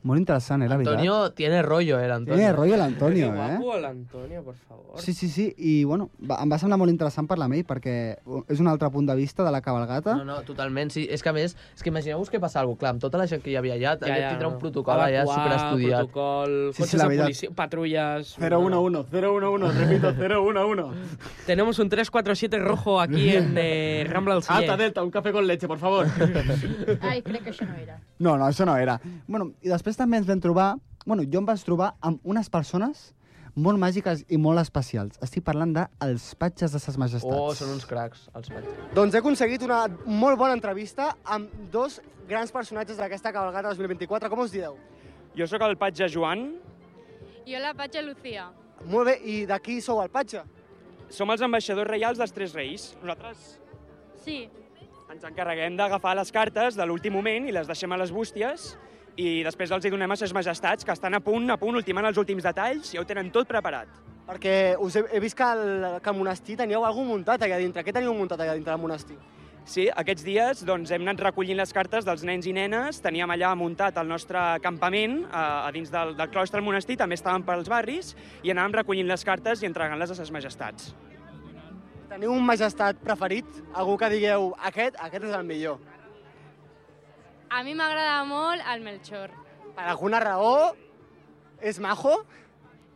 Molt interessant, eh, la veritat.
Antonio tiene rollo, eh, l'Antonio.
Tiene rollo el Antonio, eh?
Guapo l'Antonio, por favor.
Sí, sí, sí, i bueno, va, em va semblar molt interessant parlar amb ell perquè és un altre punt de vista de la cabalgata.
No, no, totalment, sí. És que a més, és que imagineu-vos que passa alguna cosa, clar, amb tota la gent que hi havia allà, ja, ja, tindrà un protocol allà
Evacuar,
superestudiat.
protocol,
Sí, sí,
cotxes
la
de
veritat.
policia, patrulles...
011, 011, repito, 011.
Tenemos un 347 rojo aquí en eh, Rambla
Ah,
del Siller.
Alta
Delta, un café con leche, por favor.
Ai, crec que això no era.
No, no, això no era. Bueno, i després també ens vam trobar... Bueno, jo em vaig trobar amb unes persones molt màgiques i molt especials. Estic parlant de els patges de ses majestats.
Oh, són uns cracs, els patis.
Doncs he aconseguit una molt bona entrevista amb dos grans personatges d'aquesta cabalgata 2024. Com us dieu?
Jo sóc el patge Joan.
Jo la vaig a Lucía.
Molt bé, i de qui sou el patge?
Som els ambaixadors reials dels Tres Reis. Nosaltres
Sí,
ens encarreguem d'agafar les cartes de l'últim moment i les deixem a les bústies i després els hi donem a ses majestats que estan a punt, a punt, ultimant els últims detalls i ja ho tenen tot preparat.
Perquè us he, he vist que al, que al monestir teníeu alguna muntat allà dintre. Què teniu muntat allà dintre del monestir?
Sí, aquests dies doncs, hem anat recollint les cartes dels nens i nenes, teníem allà muntat el nostre campament eh, a, a dins del, del claustre del monestir, també estàvem pels barris, i anàvem recollint les cartes i entregant-les a ses majestats.
Teniu un majestat preferit? Algú que digueu, aquest, aquest és el millor.
a mi m'agrada molt el Melchor.
Per alguna raó, és majo?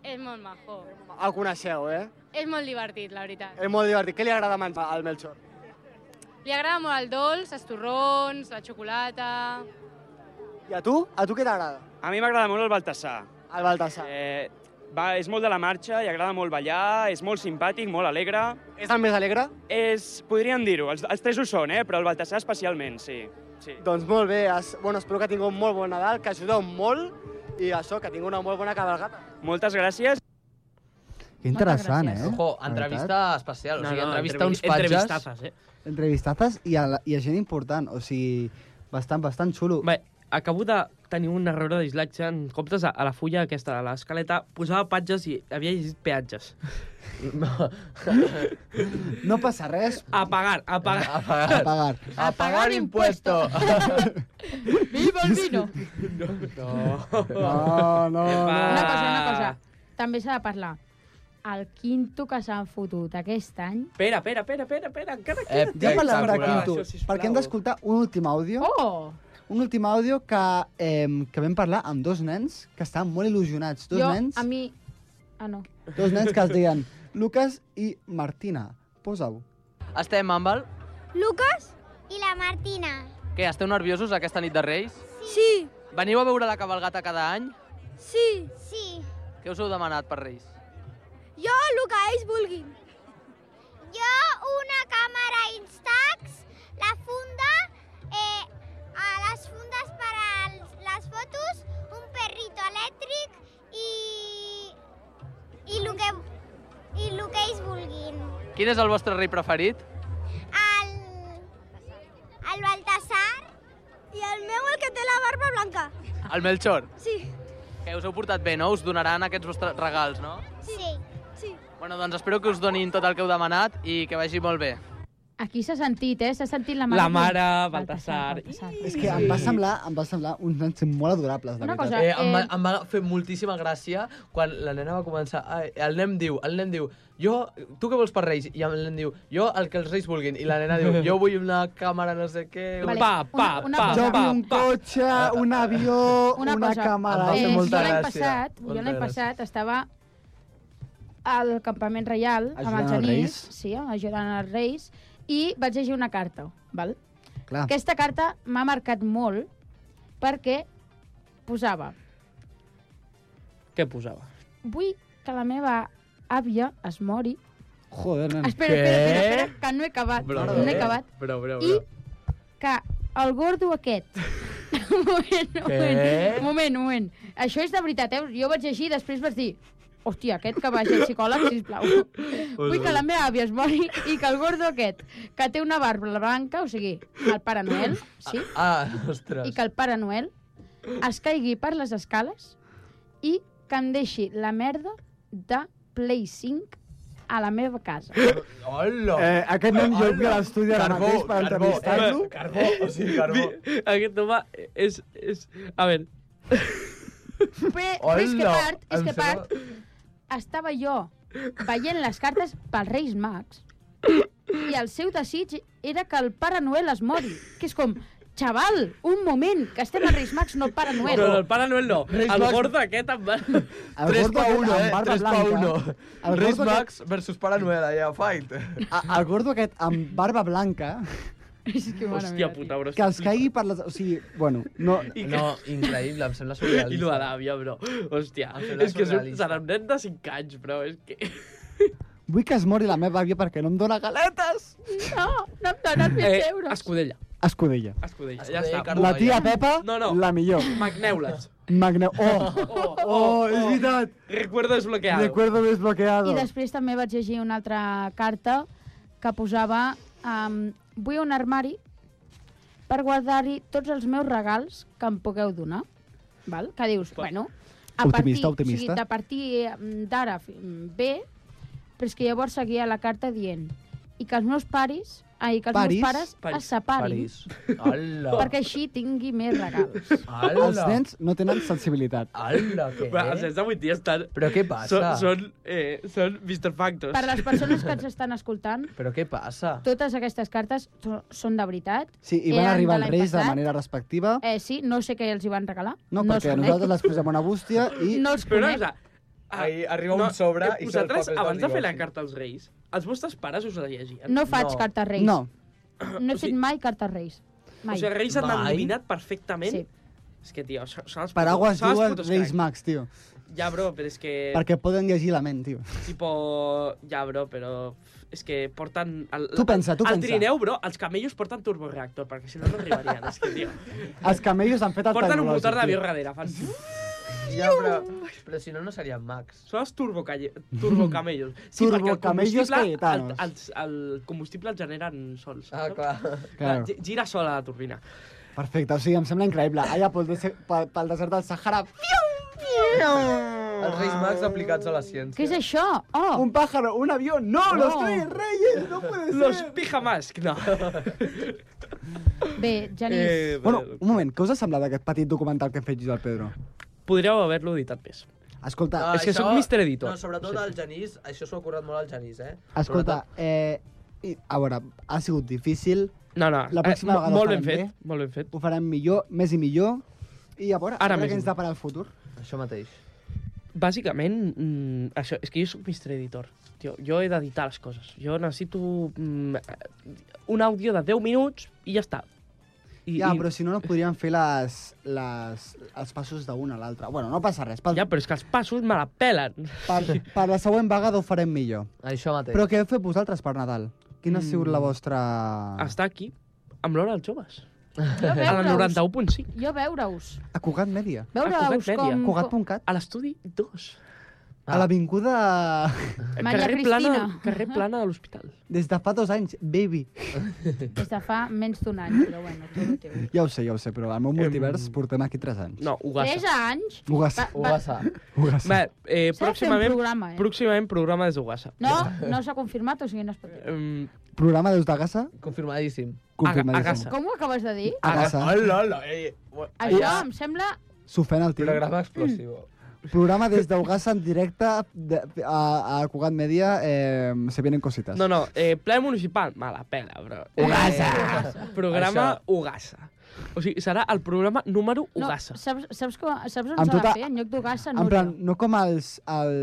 És molt majo.
El coneixeu, eh?
És molt divertit, la veritat.
És molt divertit. Què li agrada més al Melchor?
Li agrada molt el dolç, els torrons, la xocolata...
I a tu? A tu què t'agrada?
A mi m'agrada molt el Baltasar.
El Baltasar.
Eh, va, és molt de la marxa, i agrada molt ballar, és molt simpàtic, molt alegre.
És el més alegre?
És, podríem dir-ho, els, els tres ho són, eh? però el Baltasar especialment, sí. sí.
Doncs molt bé, es, bueno, espero que tingueu un molt bon Nadal, que ajudeu molt i això, que tingueu una molt bona cabalgata.
Moltes gràcies.
Que interessant, eh?
Ojo,
La veritat.
entrevista especial.
No,
o sigui,
no, entrevi-
entrevista a uns patges.
entrevistazas, eh?
Entrevistazes i a, la, i a gent important, o sigui, bastant, bastant xulo.
Bé, acabo de tenir un error de dislexia. En comptes a, a la fulla aquesta de l'escaleta, posava patges i havia llegit peatges.
No.
No passa res.
A pagar, a pagar.
A pagar.
pagar.
A pagar impuesto.
Viva el vino!
No.
No, no,
Ah.
Una cosa, una cosa. També s'ha de parlar. El quinto que s'han fotut aquest any...
Espera, espera, espera, espera, espera, encara
Eh,
queda.
ja parlarem de
Espectacular.
Quinto,
Això, sisplau.
perquè hem d'escoltar un últim àudio.
Oh!
Un últim àudio que, eh, que vam parlar amb dos nens que estaven molt il·lusionats. Dos
jo,
nens
a mi... Ah, no.
dos nens que es deien Lucas i Martina. Posa-ho.
Estem, Ambal?
Lucas i la Martina.
Què, esteu nerviosos aquesta nit de Reis?
Sí.
Veniu a veure la cabalgata cada any?
Sí. Sí.
Què us heu demanat per Reis?
Jo el que ells vulguin. Jo una càmera Instax, la funda, eh, a les fundes per a les fotos, un perrito elèctric i... i el que, i el que ells vulguin.
Quin és el vostre rei preferit?
El, el Baltasar i el meu el que té la barba blanca.
El Melchor.
Sí.
Que us heu portat bé, no? Us donaran aquests vostres regals, no?
Sí. Sí.
Bueno, doncs espero que us donin tot el que heu demanat i que vagi molt bé.
Aquí s'ha sentit, eh? S'ha sentit la mare...
La mare, Baltasar...
És que em va semblar, em va semblar uns nens molt adorables, de
Una
veritat.
cosa,
Eh, em, va, em va fer moltíssima gràcia quan la nena va començar... Ai, el nen diu, el nen diu, jo, tu què vols per Reis? I el nen diu, jo el que els Reis vulguin. I la nena diu, jo vull una càmera no sé què...
Vale, Pa, pa, una- una pa, cosa.
Jo vi un cotxe, un avió, una, una càmera...
Eh, jo
molta
l'any
gràcia,
passat, jo
molta
l'any
gràcia.
passat estava al campament reial amb
Ajudant els
el Genís,
reis.
sí, ajudant els reis, i vaig llegir una carta, val?
Clar.
Aquesta carta m'ha marcat molt perquè posava
Què posava?
vull que la meva àvia es mori.
Joder, nen.
Espera, espera, espera, espera, que no he acabat,
Però,
no he acabat.
Però, però,
I que el gordo aquest... un moment, un moment,
Què?
un moment, un moment. Això és de veritat, eh? Jo vaig llegir i després vaig dir... Hòstia, aquest que vagi al psicòleg, sisplau. Vull que la meva àvia es mori i que el gordo aquest, que té una barba blanca, o sigui, el Pare Noel, sí?
Ah, ostres.
i que el Pare Noel es caigui per les escales i que em deixi la merda de Play 5 a la meva casa.
Hola!
Eh, aquest nen jo vull a l'estudi ara
Carbó,
mateix per
carbó,
entrevistar-lo.
eh, Carbó, o sigui, carbó.
Aquest home és... és... A veure,
Però, però és que
Hola,
part, és
em
que part, estava jo veient les cartes pels Reis Mags i el seu desig era que el Pare Noel es mori, que és com, xaval, un moment, que estem als Reis Mags, no al Pare Noel.
No, no, el Pare Noel no.
Reis
el
Mags-
gordo aquest em va...
El
3
gordo
pa
aquest
1,
amb
eh?
barba
3 pa
blanca.
1.
El
Reis
gordo
Max versus Pare Noel, allà, fight.
A, el gordo aquest amb barba blanca,
És que, mare
Hòstia
meva, tio.
puta, bro.
que els caigui per les... O sigui, bueno, no...
I que...
No, increïble, em sembla
I lo de
surrealista.
l'àvia, bro. Hòstia,
Em sembla
és que és un,
surrealista.
serà un nen de 5 anys, bro. És que...
Vull que es mori la meva àvia perquè no em dóna galetes!
No, no em donen 20 euros.
Eh, Escudella.
Escudella.
Escudella, ja
Escudella i
està.
carn
La tia
Escudella.
Pepa,
No, no.
la millor.
Magneules.
Magne... Oh, oh, oh, és veritat!
Recuerdo desbloqueado.
Recuerdo desbloqueado.
I després també vaig llegir una altra carta que posava um, vull un armari per guardar-hi tots els meus regals que em pugueu donar. Val? Que dius, bueno... A
Optimista,
partir,
optimista.
O sigui, de partir mm, d'ara fi- mm, bé, però és que llavors seguia la carta dient i que els meus paris, ai, que els
Paris?
meus pares
Paris.
es separin,
París. Hola.
perquè així tingui més regals.
Hola.
Els nens no tenen sensibilitat.
Hola, què?
Va, els nens d'avui dia estan...
Però què passa?
Són, són, eh, són Mr. Factos.
Per les persones que ens estan escoltant,
Però què passa?
totes aquestes cartes so- són de veritat.
Sí, i van
Eren
arribar els
de l'any
reis de
passat.
manera respectiva.
Eh, sí, Eh, no sé què els hi van regalar.
No, perquè
els conec.
nosaltres les posem a una bústia i...
No els
Però,
conec.
o sea, eh,
Ahir arriba un sobre i se'ls
Vosaltres,
papers
abans de fer la
divorci.
carta als Reis, els vostres pares us la llegien?
No faig cartes reis.
No.
No he
O sigui-
fet mai cartes reis. Mai.
O sigui, Reis han
Mai?
endevinat perfectament.
Sí.
És que, tio, són són els putos-
Paraguas
són els
diuen
putos
Reis
crack.
Mags, tio.
Ja, bro, però és que...
Perquè poden llegir la ment, tio.
Tipo, ja, bro, però... És que porten... El,
Tu pensa, tu
el
pensa.
trineu, bro, els camellos porten turboreactor, perquè si no, no arribarien. és que, tio,
Els camellos han fet el
porten un
tecnològic,
motor d'avió
tio.
darrere. Fan...
Ja, però, però si no, no serien mags.
Són els turbocalle- turbocamellos. perquè el
Turbocamellos
combustible-
Cayetanos.
El, els- el combustible el generen sols. Ah,
clar.
Claro.
Gira sola la turbina.
Perfecte, o sigui, em sembla increïble. Allà pel, dese- pel, pel desert del Sahara... Fium, fium.
Els Reis Mags aplicats a la ciència.
Què és això? Oh!
¡Ah! Un pájaro, un avió... No,
No.
los tres reyes, no puede ser.
Los pijamas, no.
Bé, Janís,
Eh,
bueno, un moment, què us ha semblat aquest petit documental que hem fet jo al Pedro?
Podríeu haver-lo editat més.
Escolta,
Ah,
és que
això-
sóc Mr. Editor.
No, sobretot el Genís, això s'ho ha currat molt el Genís, eh?
Escolta, eh, i, a veure, ha sigut difícil.
No, no,
la pròxima
eh, mo-
vegada ho
molt ben
farem
fet, molt ben fet.
Ho farem millor, més i millor. I a veure,
Ara
a veure
més
què
i
ens depara el futur.
Això mateix.
Bàsicament, mm, això, és que jo soc Mr. Editor. Tio, jo he d'editar les coses. Jo necessito mm, un àudio de 10 minuts i ja està. I,
ja,
i-
però si no, no podríem fer les, les, els passos d'un a l'altre. Bueno, no passa res. Pel,
Ja, però és que els passos me la pelen.
per, per la següent vegada ho farem millor.
Això mateix.
Però què heu fet vosaltres per Nadal? Quina ha sigut la
Mm.
vostra... Ah.
Està aquí, amb l'hora dels joves.
Ja
A la
veuràs.
91.5.
jo veure-us.
A Cugat Mèdia.
Veure-us com-
Cugat.cat.
A l'estudi 2. Ah.
A l'avinguda...
Maria
carrer
Cristina.
Plana, carrer Plana de l'hospital.
Des de fa dos anys, baby.
Des de fa menys d'un any, però bueno, tu el teu.
Ja ho sé, ja ho sé, però al meu multivers portem aquí tres anys.
No,
Tres anys?
Ugassa.
Va- va-
Ugassa.
Bé, eh,
S'ha de fer un
pròximament,
programa, eh?
pròximament programa des d'Ugassa.
No, no s'ha confirmat, o sigui, no es pot dir.
Um,
Programa des de Gassa?
Confirmadíssim.
Confirmadíssim.
Com ho acabes de dir?
Agassa.
Hola, hola, ei.
Això em sembla...
S'ofèn el tio.
Programa explosivo.
Programa des d'Ugassa en directe de, a, a Cugat Media. Eh, se vienen cositas.
No, no, eh, ple municipal, me la pela, bro.
Ugassa.
Eh, programa Ugassa. O sigui, serà el programa número
No,
Ugassa.
saps, saps, com, saps on
Amb
s'ha de
tota-
fer? En lloc d'Ugassa,
En
Núria.
plan, no com, els, el,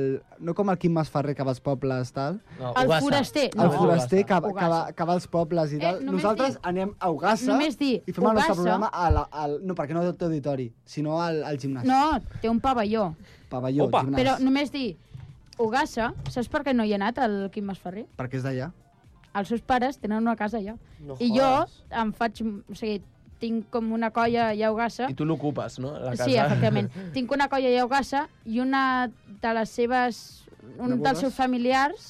no com el Quim Masferrer que va als pobles, tal.
No,
El Ugassa. foraster, no.
El foraster que,
Ugassa.
que, va, que va als pobles i tal.
només
Nosaltres
dir-
anem a Ugassa
només dir
i fem el nostre
Ugassa.
programa a la, al, no, perquè no té auditori, sinó al, al gimnàs.
No, té un pavelló.
Pavelló, gimnàs.
Però només dir, Ugassa, saps per què no hi ha anat el Quim Masferrer?
Perquè és d'allà.
Els seus pares tenen una casa allà.
No
I jo em faig... O sigui, tinc com una colla allà a Ugassa.
I tu l'ocupes, no? La casa.
Sí, efectivament. Tinc una colla allà a Ugassa i una de les seves... Un
Nebodes?
dels seus familiars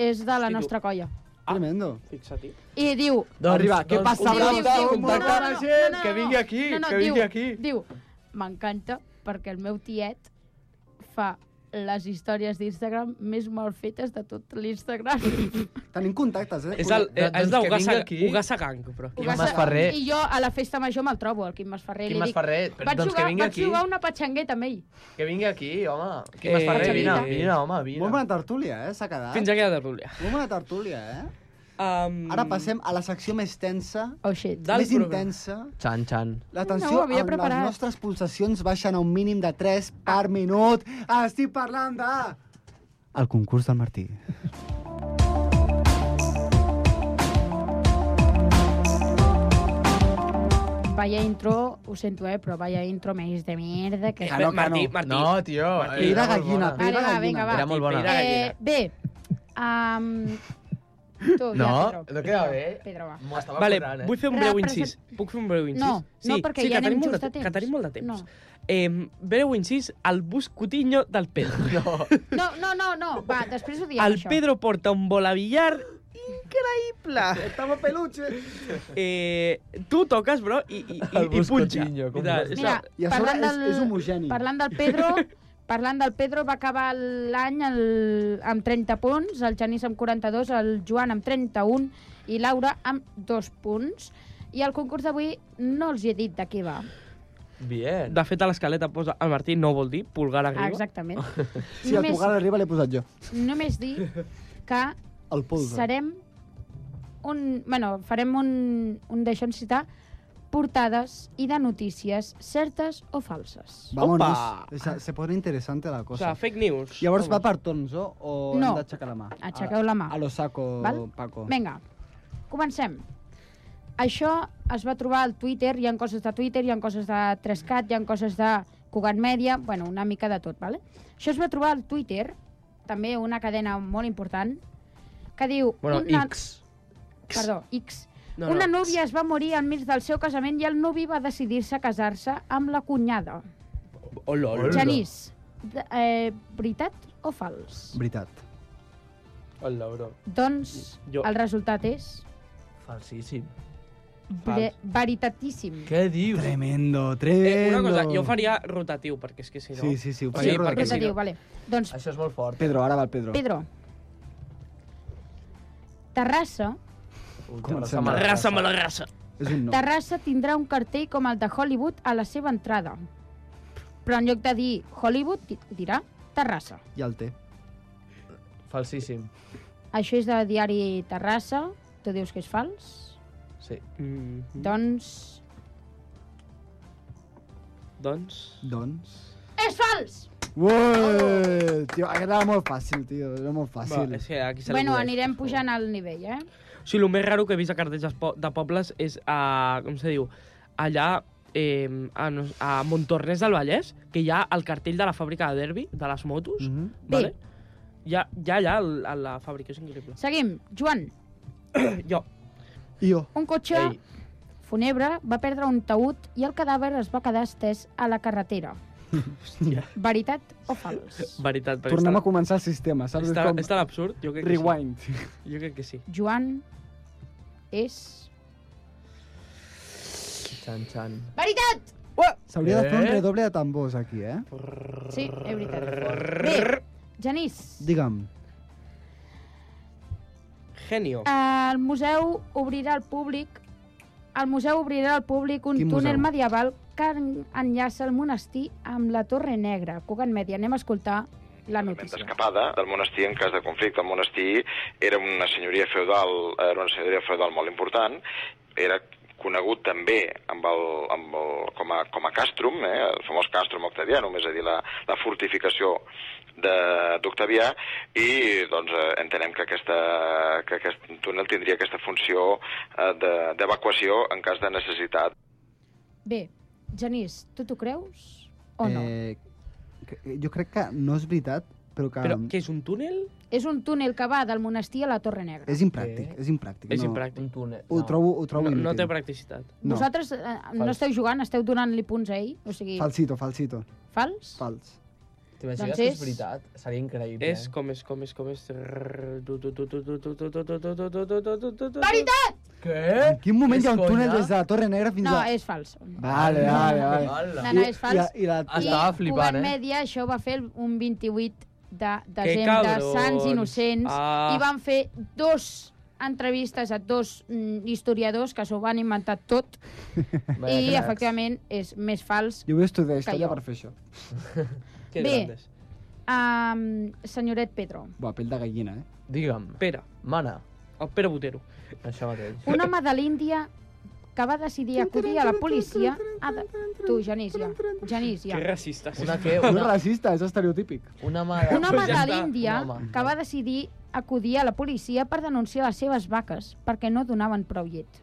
és de la
tu.
nostra colla.
Ah, Tremendo.
Fixa-t'hi.
I diu...
Doncs- Arriba, què doncs passa,
Diu,
Bravo?
diu,
Diu,
diu,
contacta
no, no,
la
no,
gent,
no, no,
que
no.
vingui aquí, que
diu-
vingui aquí.
Diu, m'encanta perquè el meu tiet fa les històries d'Instagram més mal fetes de tot l'Instagram.
Tenim contactes, eh?
És, el, eh,
Doncs
és
que
d'Ugassa
vingui aquí.
Ugassa Gang, però.
Quim Masferrer.
I jo a la festa major me'l trobo, el Quim Masferrer.
Quim
li dic,
Masferrer, però
vaig
doncs que
jugar,
vingui
vaig
aquí."
jugar una patxangueta amb ell.
Que vingui aquí, home. Quim
Eh,
Masferrer, vine,
Xavita.
vine, home, vine.
Molt bona tertúlia, eh? S'ha quedat.
Fins aquí la tertúlia.
Molt bona tertúlia, eh?
Um...
Ara passem a la secció més tensa,
oh, shit.
Del
més
programa.
intensa.
Xan, xan.
La tensió
No ho
amb
havia preparat.
les nostres pulsacions baixen a un mínim de 3 per minut. Ah, Estic parlant de... El concurs del Martí.
Vaya intro, ho sento, eh, però vaya intro més de merda que...
Martí, Martí.
No, tio. eh,
Martí.
Pell
era
de
molt
gallina,
bona.
pell de
Vale, va, vinga,
gallina.
va.
Era molt bona.
Pell de gallina.
Eh, bé, um, tu,
No,
ja, Pedro.
no queda bé.
Pedro, va.
M'ho estava
Vale,
currant, eh?
vull fer un breu
Represent-
incís. Puc fer un breu incís?
No, no, perquè
que
ja anem
tenim molt
just
de
a
te-
temps.
Que tenim molt de temps.
No.
Eh, breu incís, el buscotinyo del Pedro. No.
No, no, no, no, va, després ho diem,
El
això.
Pedro porta un bolabillar increïble.
Estamos peluche.
Eh, tu toques, bro, i, i, i, i punxa.
buscotinyo, com
I tal,
no.
és
Mira,
la-
I a sobre és,
parlant del,
és homogeni.
parlant del Pedro, parlant del Pedro va acabar l'any el- amb 30 punts, el Genís amb 42, el Joan amb 31 i Laura amb 2 punts. I el concurs d'avui no els hi he dit de què va.
Bien.
De fet, a l'escaleta posa el Martí no vol dir pulgar arriba.
Ah, Exactament.
Sí, el Pugal arriba l'he posat jo.
només dir que
El polze.
serem un... Bueno, farem un, un d'això en citar portades i de notícies certes o falses.
Vámonos. Se, se pone interesante la cosa.
O sea, fake news.
Llavors va per tons, o, o
No.
hem d'aixecar la mà?
Aixequeu la mà.
A, a lo saco,
Val?
Paco.
Vinga, comencem. Això es va trobar al Twitter, hi ha coses de Twitter, hi ha coses de Trescat, hi ha coses de Cugat Mèdia, bueno, una mica de tot, vale? Això es va trobar al Twitter, també una cadena molt important, que diu...
Bueno,
una...
X.
Perdó, X.
No,
una
no.
núvia es va morir enmig del seu casament i el nuvi va decidir-se a casar-se amb la cunyada.
Hola, hola.
Genís, d- eh, veritat o fals?
Veritat.
Hola, bro.
Doncs
Jo-
el resultat és...
Falsíssim.
Bre veritatíssim.
Què dius?
Tremendo,
Eh,
tremendo.
una cosa, jo faria rotatiu, perquè és que si no...
Sí, sí, sí, ho
O
faria
sigui, perquè
rotatiu.
si
Rotatiu,
no...
vale. Doncs,
Això és molt fort.
Pedro, ara va el Pedro.
Pedro, Terrassa,
Comencem.
Raça mala raça.
És un no.
Terrassa tindrà un cartell com el de Hollywood a la seva entrada. Però en lloc de dir Hollywood, di- dirà Terrassa.
I el té.
Falsíssim.
Això és de diari Terrassa. Tu dius que és fals?
Sí.
Mm.
Doncs...
Doncs...
Doncs...
És fals!
Ué, tio, era molt fàcil, tio, era molt fàcil.
Va, és que aquí se
Bueno,
l'acudeix.
anirem pujant al nivell, eh?
O sigui, el més raro que he vist a cartells de po- de pobles és a... Com se diu? Allà, eh, a, no- a Montornès del Vallès, que hi ha el cartell de la fàbrica de derbi, de les motos,
Mhm.
mm -hmm. vale? Ja, ja allà, al- a la fàbrica, és increïble.
Seguim. Joan,
jo.
Jo.
un cotxe Ei. funebre va perdre un taüt i el cadàver es va quedar estès a la carretera.
Hòstia.
Veritat o fals?
Veritat, perquè
Tornem
està,
a començar el sistema, saps?
està,
Com-
està l'absurd. Jo crec que
Rewind.
sí. Jo crec que sí.
Joan és...
Xan, xan.
Veritat!
S'hauria de fer un
Eh?
redoble de tambors aquí, eh?
Sí, és veritat. Bé, Genís,
Digue'm.
Genio.
Ah.
el museu obrirà al públic el museu obrirà al públic un
Quin
túnel
museu?
medieval que en- enllaça el monestir amb la Torre Negra. Cugat Media, anem a escoltar la notícia.
escapada del monestir en cas de conflicte. El monestir era una senyoria feudal, era una senyoria feudal molt important, era conegut també amb el, amb el, com, a, com a castrum, eh, el famós castrum octavianum, és a dir, la, la fortificació de- d'Octavià, i doncs, eh, entenem que, aquesta, que aquest túnel tindria aquesta funció eh, de- d'evacuació en cas de necessitat.
Bé, Genís, tu t'ho creus o no? Eh...
Eh, que- jo crec que no és veritat, però que...
Però que és un túnel?
És un túnel que va del monestir a la Torre Negra.
És impràctic, és impràctic.
És
no.
impràctic. Un
túnel.
Ho trobo, ho trobo
No, no
inútil.
té practicitat.
No.
Vosaltres eh, no
Fals.
esteu jugant, esteu donant-li punts a ell? O sigui,
Falsito, falsito.
fals?
Fals.
T'imagines
Doncs
que és
és-
veritat? Seria increïble. eh?
És com és, com és, com és...
Veritat!
Què?
En quin moment
És
hi ha un túnel
conya?
des de la Torre Negra fins
No,
a...
és fals.
Vale, vale, vale.
No, no, és fals.
I, i, la...
I
Estava flipant,
Cugat
eh?
Media això ho va fer un 28 de desembre,
cabrons.
Sants Innocents,
Ah.
i van fer dos entrevistes a dos mm, historiadors que s'ho van inventar tot i, efectivament, és més fals.
Jo vull estudiar
Que
història
jo.
per fer això.
Que Bé. grandes. Um, senyoret Pedro,
Buah, pell de gallina, eh?
Digue'm.
Pere.
Mana.
El Pere Botero.
Això mateix.
un home de l'Índia que va decidir acudir a la policia... A de... Tu, Genís, ja. Genís, ja.
Que racista.
Una que...
No és
Una,
racista, és estereotípic.
una mà de...
Un home de l'Índia
Un home.
que va decidir acudir a la policia per denunciar les seves vaques perquè no donaven prou llet.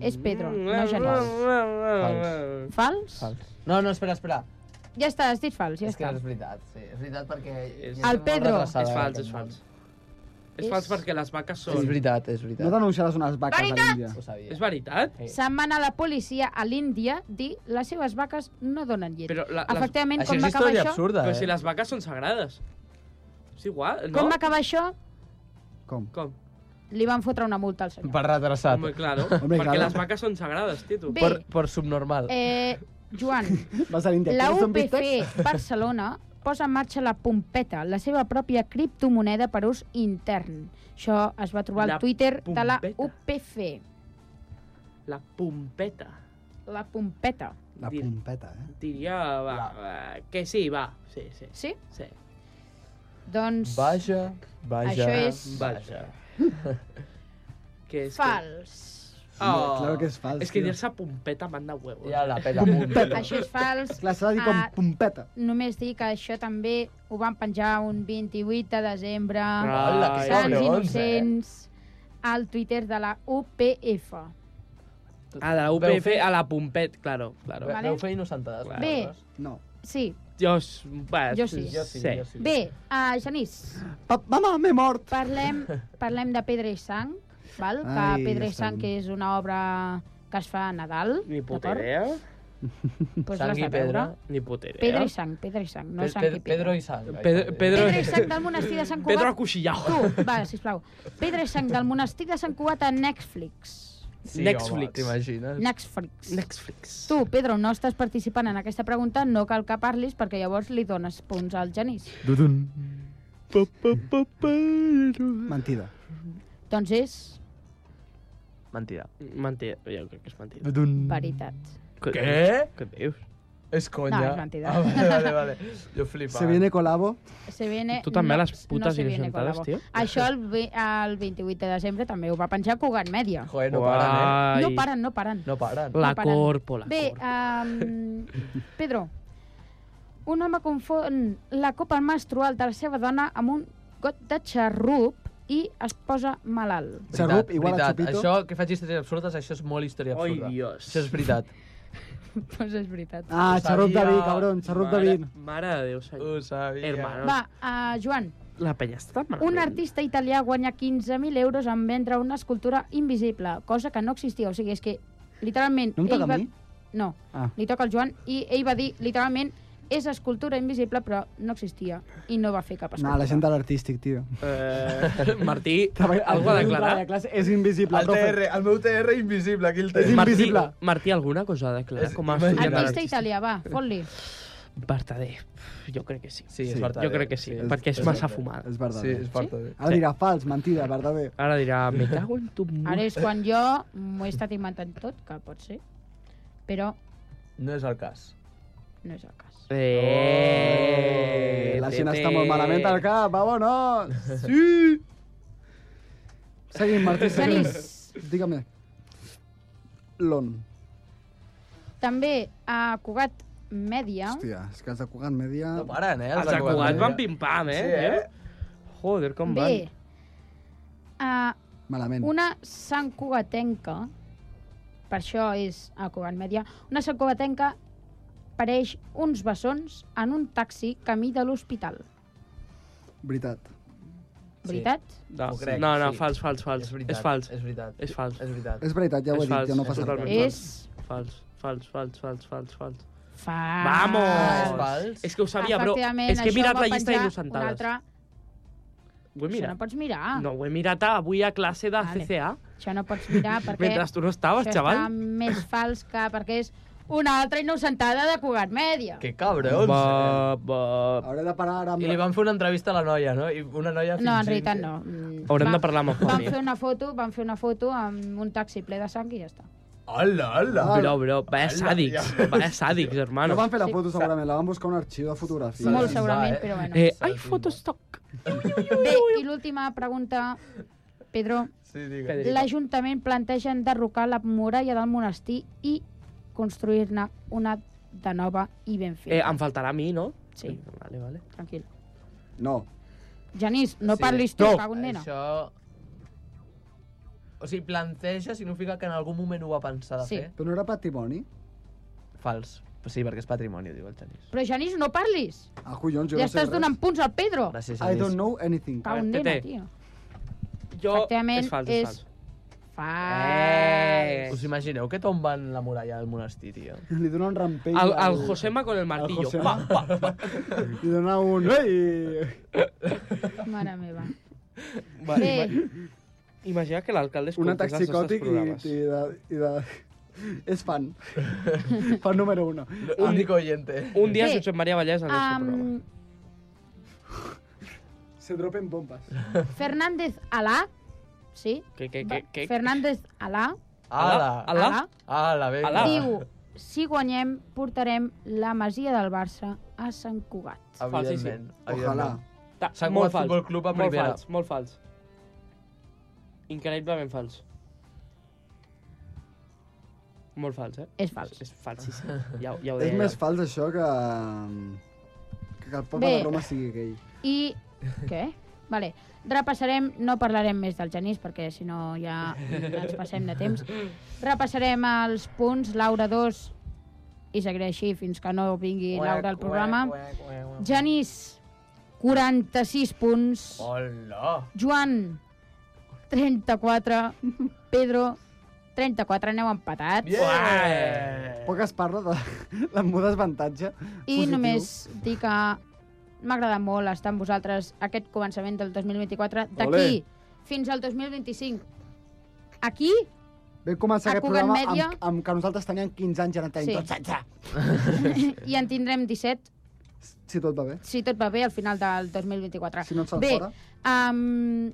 És Pedro,
Mm,
no
eh,
Genís.
Fals.
Fals?
Fals. No, no, espera, espera.
Ja està, has dit fals, ja
és que
està.
no és veritat, sí. És veritat perquè...
És-
El Pedro.
És fals, és fals. És fals perquè les vaques són...
És veritat, és veritat.
No denunciaràs unes vaques a
Veritat!
l'Índia.
És veritat?
Se'n van a la policia a l'Índia dir les seves vaques no donen llet.
Però la, les...
Efectivament, com va acabar això...
Però si les vaques són sagrades. És igual, no?
Com va acabar això,
Com?
Com?
li van fotre una multa al senyor.
Per retrasat.
Home, claro.
Home,
perquè
claro.
les vaques són sagrades, tio, tu.
Bé. Per-
Per subnormal.
Eh, Joan,
Vas a l'Índia.
la
¿Quieres un bistec?
UPC Barcelona posa en marxa la Pompeta, la seva pròpia criptomoneda per ús intern. Això es va trobar
La
al Twitter de la
Pompeta.
UPC.
La pompeta.
La Pompeta.
La pompeta, eh?
Diria va, va, que sí, va. Sí, sí.
Sí?
Sí.
Doncs...
Vaja, vaja,
Això és-
vaja.
que és...
Fals.
No, claro que és fals,
És Ah. que
tio.
dir-se pompeta manda huevos.
Ja la pela,
Pompeta.
Això és fals.
Clar, s'ha de dir com
Ah,
pompeta.
Només dir que això també ho van penjar un 28 de desembre.
Hola, que
Sants
eh?
cabrons,
innocents al Twitter de la UPF.
Ah,
A la
Veu
UPF,
fer-
a la pompet, claro, claro.
Vale. eh? Veu fer innocentades.
Claro.
Bé.
No.
Sí.
Jo, s- va,
Jo sí.
Jo sí, jo sí.
Bé, uh, Genís.
Pa mama, m'he mort.
Parlem, parlem de Pedra i Sang, val? que
Ai,
Pedra i
Sang.
Sang que és una obra que es fa a Nadal.
Ni puta
d'acord?
idea.
Pues l'has de veure.
Ni puta idea.
Pedra i Sang, Pedra i Sang, no
Pe-
sang i
Pe-
pedra.
Pedro i Sang. Pedro- Pedro-
Pedra i Sang del monestir de Sant Cugat.
Pedro Acuchillao.
Tu, va, sisplau. Pedra i Sang del monestir de Sant Cugat a Netflix.
Sí,
Netflix.
home, t'imagines?
Netflix.
Netflix.
Tu, Pedro, no estàs participant en aquesta pregunta, no cal que parlis perquè llavors li dones punts al Genís.
Dudun. Mentida.
Doncs és
Mentida. Mentida, jo crec que és mentida.
veritat.
Què?
Què?
Què dius?
És conya.
No, és mentida.
Ah, vale, vale, vale. Jo flipava.
Se viene colabo.
Se viene,
Tu també a
no,
les putes
se viene
innocentades,
colabo.
tio.
Això el, ve- el 28 de desembre també ho va penjar Cugat Mèdia.
Joder, no paren, eh?
No paren, no paren.
No paren.
La
paren.
corpo, la
Bé, um, Pedro, un home confon la copa menstrual de la seva dona amb un got de xarrup i es posa malalt.
Xarrup, igual a
veritat.
Chupito.
Això que faig històries absurdes, això és molt història
Ai,
absurda.
Dios.
Això és veritat.
Doncs és veritat.
Ah, xarrup de vi,
Sabia.
cabrón, xarrup de
Mare-
vi.
Mare de Déu, senyor.
Ho sabia.
Hermano.
Va, uh, Joan,
La penya està tan malament.
un artista italià guanya 15.000 euros en vendre una escultura invisible, cosa que no existia. O sigui, és que, literalment...
No em toca
ell
a
va...
mi?
No,
Ah.
li toca al Joan i ell va dir, literalment, és escultura invisible, però no existia. I no va fer cap escultura.
No, la gent de l'artístic, tio.
Eh, Martí, algú a
La
declarar?
classe és invisible,
El
profe.
TR, el meu TR invisible, aquí el TR.
Martí,
invisible.
Martí, alguna cosa a declarar?
És-
Com a estudiant de
Artista
l'artista.
italià, va, fot-li.
Verdader. Jo crec que sí.
Sí, és
Sí.
veritat.
Jo crec que sí,
És-
perquè és
és
massa
veritat.
fumada.
És verdad. eh.
Sí, és eh. veritat.
Ara dirà fals, mentida, verdader.
Ara dirà, me cago en tu...
Ara és quan jo m'ho he estat inventant tot, que pot ser, però
No és el cas.
no és el cas.
Eh,
Oh, La gent
tete.
està molt malament al cap, vámonos! Sí! Seguim, Martí, seguim.
Genís.
Dígame. L'on.
També a Cugat Mèdia...
Hòstia, és que els de Cugat Media...
No paren, eh?
Els de Cugat van pim-pam, eh?
Sí, eh?
Joder, com
Bé, eh,
van.
a
Malament.
una santcugatenca, per això és a Cugat Mèdia, una santcugatenca pareix uns bessons en un taxi camí de l'hospital.
Veritat.
Veritat?
No,
Ho crec,
no, no,
sí.
fals, fals, fals.
És veritat.
És fals.
És veritat.
És fals.
És veritat.
És veritat, ja ho he
És fals,
dit, ja no
és
passa res.
totalment
És
Fals, fals, fals, fals, fals, fals.
fals.
És
Vamos!
fals.
És que ho sabia, bro.
Efectivament,
És que he
això
mirat
ho va
la llista
penjar
d'innocentades.
Un altre...
Ho he
Això no
mirat.
pots mirar.
No, ho he mirat ah, avui a classe de
Ah. Vale.
CCA.
Això no pots mirar perquè...
Mentre tu no estaves,
això
xaval.
Està més fals que perquè és una altra innocentada de Cugat Mèdia.
Que cabrons. eh?
Va, va...
Hauré de parar ara
I li
amb...
van fer una entrevista a la noia, no? I una noia
No, en
fingint
realitat
que-
no. Mm,
Haurem
va-
de parlar amb el
Van
Juani.
fer una foto, van fer una foto amb un taxi ple de sang i ja està.
Hola, hola.
Ah,
Bro, bro, vaya sàdics. Vaya sàdics,
No
hermano.
van fer la foto, segurament, la van buscar a un arxiu de fotografies.
Molt
sí,
segurament,
va, eh?
però bueno.
Eh, ai, fotostock.
Bé, i l'última pregunta, Pedro.
Sí, digue.
Pedrico.
L'Ajuntament planteja enderrocar la muralla del monestir i construir-ne una de nova i ben feta.
Eh, em faltarà a mi, no?
Sí.
Vale, vale.
Tranquil.
No.
Genís, no
Sí.
parlis tu,
No.
cago en nena.
Això... O sigui, planteja significa que en algun moment ho va pensar de
Sí.
fer.
Però no era patrimoni?
Fals. Sí, perquè és patrimoni, diu el Genís.
Però Genís, no parlis!
Ah, collons, jo
ja
no sé
estàs
res.
donant punts al Pedro!
Gràcies,
I
Genís.
don't know anything.
Cago en
A veure,
nena,
Tete.
tio.
Jo...
Efectivament,
És fals,
és-
és fals.
Fals!
Us imagineu que tomben la muralla del monestir, tio?
Li dona un rampell.
Al,
al-
al Josema con el
Al
martillo.
Josema.
Pa, pa, pa.
Li dona un... Ei!
Mare meva.
Va,
Bé,
ima- Imagina que l'alcalde
Un atac
escoltés els nostres
psicòtic i,
programes.
i, de, i de... És fan. fan número uno.
Único oyente.
Un dia
Bé,
Josep Maria Vallès al nostre programa.
um,
Se dropen bombes.
Fernández Alá, sí?
Que, que,
Va-
que, que...
Fernández Alá,
Ala.
Ala. Alá?
Ala, vinga.
Ala.
diu si guanyem, portarem la masia del Barça a Sant Cugat.
Evidentment.
Ojalà.
evidentment.
Ta,
Sant
molt
Cugat
fals.
Futbol Club a
molt
primera.
fals, molt fals. Increïblement fals. Molt fals, eh?
És fals.
És falsíssim. Ja, ho- ja ho
És
deia.
més fals això que... que el papa
Bé.
de Roma sigui aquell.
I... Què? Vale. Repassarem, no parlarem més del genís, perquè si no ja ens passem de temps. Repassarem els punts, Laura 2, i seguiré així fins que no vingui Laura al programa. Genís, 46 punts.
Oh. Hola!
Joan, 34. Pedro, 34. Aneu empatats.
Eh.
Poc es parla de l'embut desavantatge.
I
positiu.
només dir que m'ha agradat molt estar amb vosaltres aquest començament del 2024. D'aquí
Olé.
fins al 2025. Aquí,
Vam començar
a
aquest
Cugat
programa
Mèdia-
amb, amb, que nosaltres teníem 15 anys i ara en tenim
Sí.
sí. tots 16.
i en tindrem 17,
Si tot va bé.
si tot va bé, al final del 2024.
Si no et surt
bé,
fora.
um,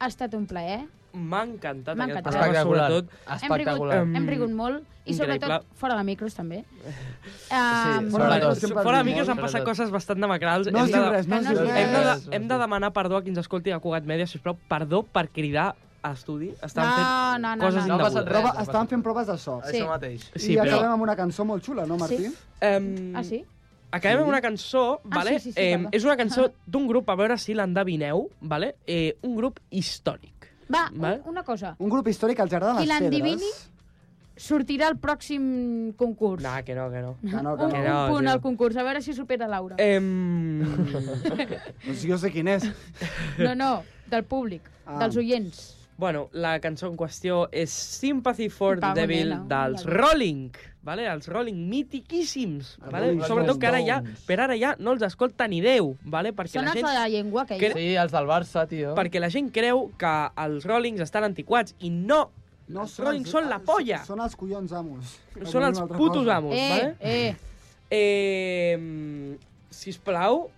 ha estat un plaer.
M'ha encantat
M'ha
aquest
encantat.
programa, sobretot.
Hem rigut, hem rigut molt, i
Mm. Increïble.
sobretot fora de micros, també. Um,
Sí, fora, de, micros, fora de micros han passat coses bastant demacrals.
No
Hem
has dit
de-
res, no has
hem
dit
de-
res.
Hem de, hem de demanar perdó a qui ens escolti a Cugat Mèdia, sisplau, perdó per cridar a estudi. Estan
No,
Ah,
fent
no, no,
coses
no. No ha
indegudes.
passat res, Prova- no ha estaven passat fent proves de so.
Això mateix.
Sí, I però... acabem amb una cançó molt xula, no, Martí?
Sí. Em,
Ah, sí?
Acabem
Sí.
amb una cançó,
Ah,
vale?
sí, sí, sí,
Em,
perdó.
és una cançó d'un grup, a veure si l'endevineu, vale? Eh, un grup històric.
Va,
Val.
un- una cosa.
Un grup històric al Jardí de
Qui
les Pedres.
l'endivini sortirà al pròxim concurs.
No, que no, que no. Eh.
Que no,
Un,
que
un
no.
punt al concurs, a veure si supera Laura.
Em...
Doncs jo sé quin és.
No, no, del públic, ah. dels oients.
Bueno, la cançó en qüestió és Sympathy for the
Pago
Devil
Nela,
dels
vale.
Rolling, vale? Els Rolling mitiquíssims, vale?
Rolling
Sobretot que ara ja,
Stones.
per ara ja no els escolta ni Déu, vale? Perquè
Són
la
els
gent
de la llengua, aquells.
Cre-
Sí, els del Barça, tio.
perquè la gent creu que els Rollings estan antiquats i no.
No,
els Rollings són la polla.
Són els collons amos.
Són els putos amos,
eh,
vale?
Eh.
Eh, sisplau,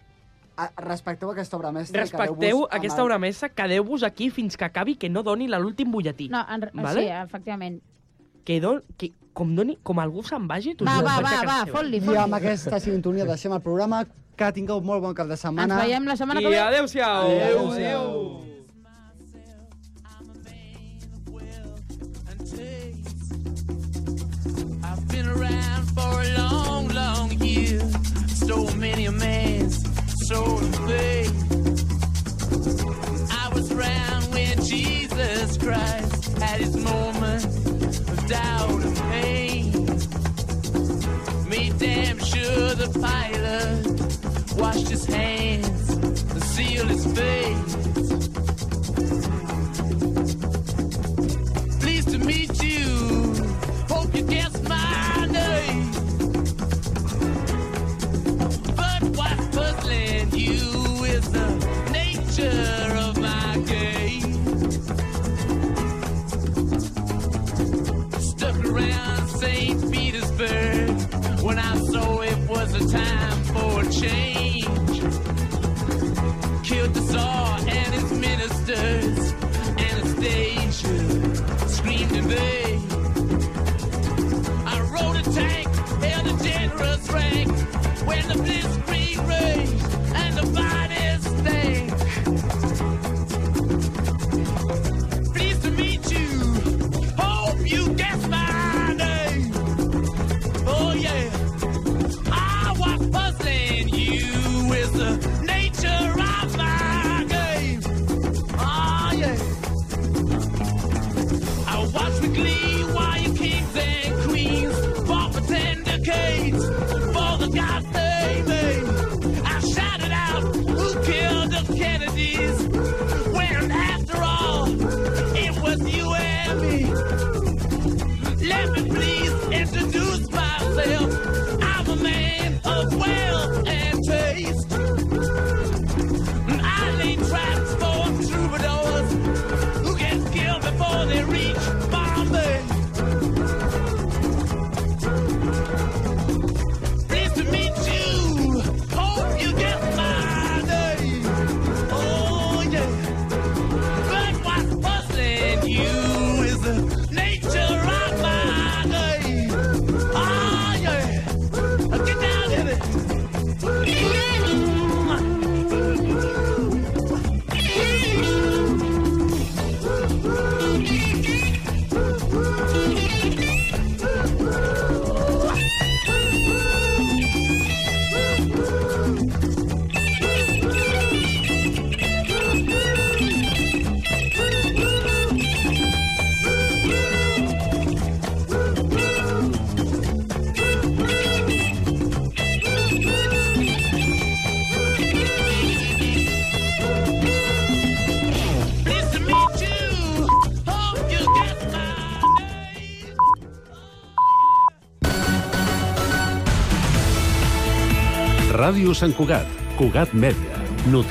A, Ah, respecteu aquesta obra mestra. i
respecteu
quedeu-vos amb
aquesta
el-
hora mesa, quedeu-vos aquí fins que acabi que no doni la l'últim butlletí.
No, en, vale?
Vale?
sí, efectivament.
Que, don, que com, doni, com algú se'n vagi... t'ho
Va,
juro
va,
per
va,
casa
va,
seva.
fot-li,
I amb aquesta sintonia deixem el programa. Que tingueu molt bon cap de setmana.
Ens veiem la setmana que
I
ve.
adeu-siau.
Adeu-siau.
I've been around for a long, long year. Stole many a man's soul and faith. I was around when Jesus Christ had his moment of doubt and pain. Made damn sure the pilot washed his hands and sealed his face. Pleased to meet you. Hope you guess my name. But what's puzzling you is the nature of my game. Stuck around St. Petersburg when I saw it was a time for a change. Killed the Tsar and his ministers. Anastasia screamed in vain. I rode a tank, held a generous rank. When the blitzkrieg raged and the bodies stank. Pleased to meet you. Hope you guess my name. Oh yeah. Ah, what's puzzling you is the nature of my game. Ah yeah. I watch with glee while you kings and queens fall for tender cates for the gods they made.
Oh, Ah,
Ràdio Sant Cugat, Cugat Mèdia, notícies.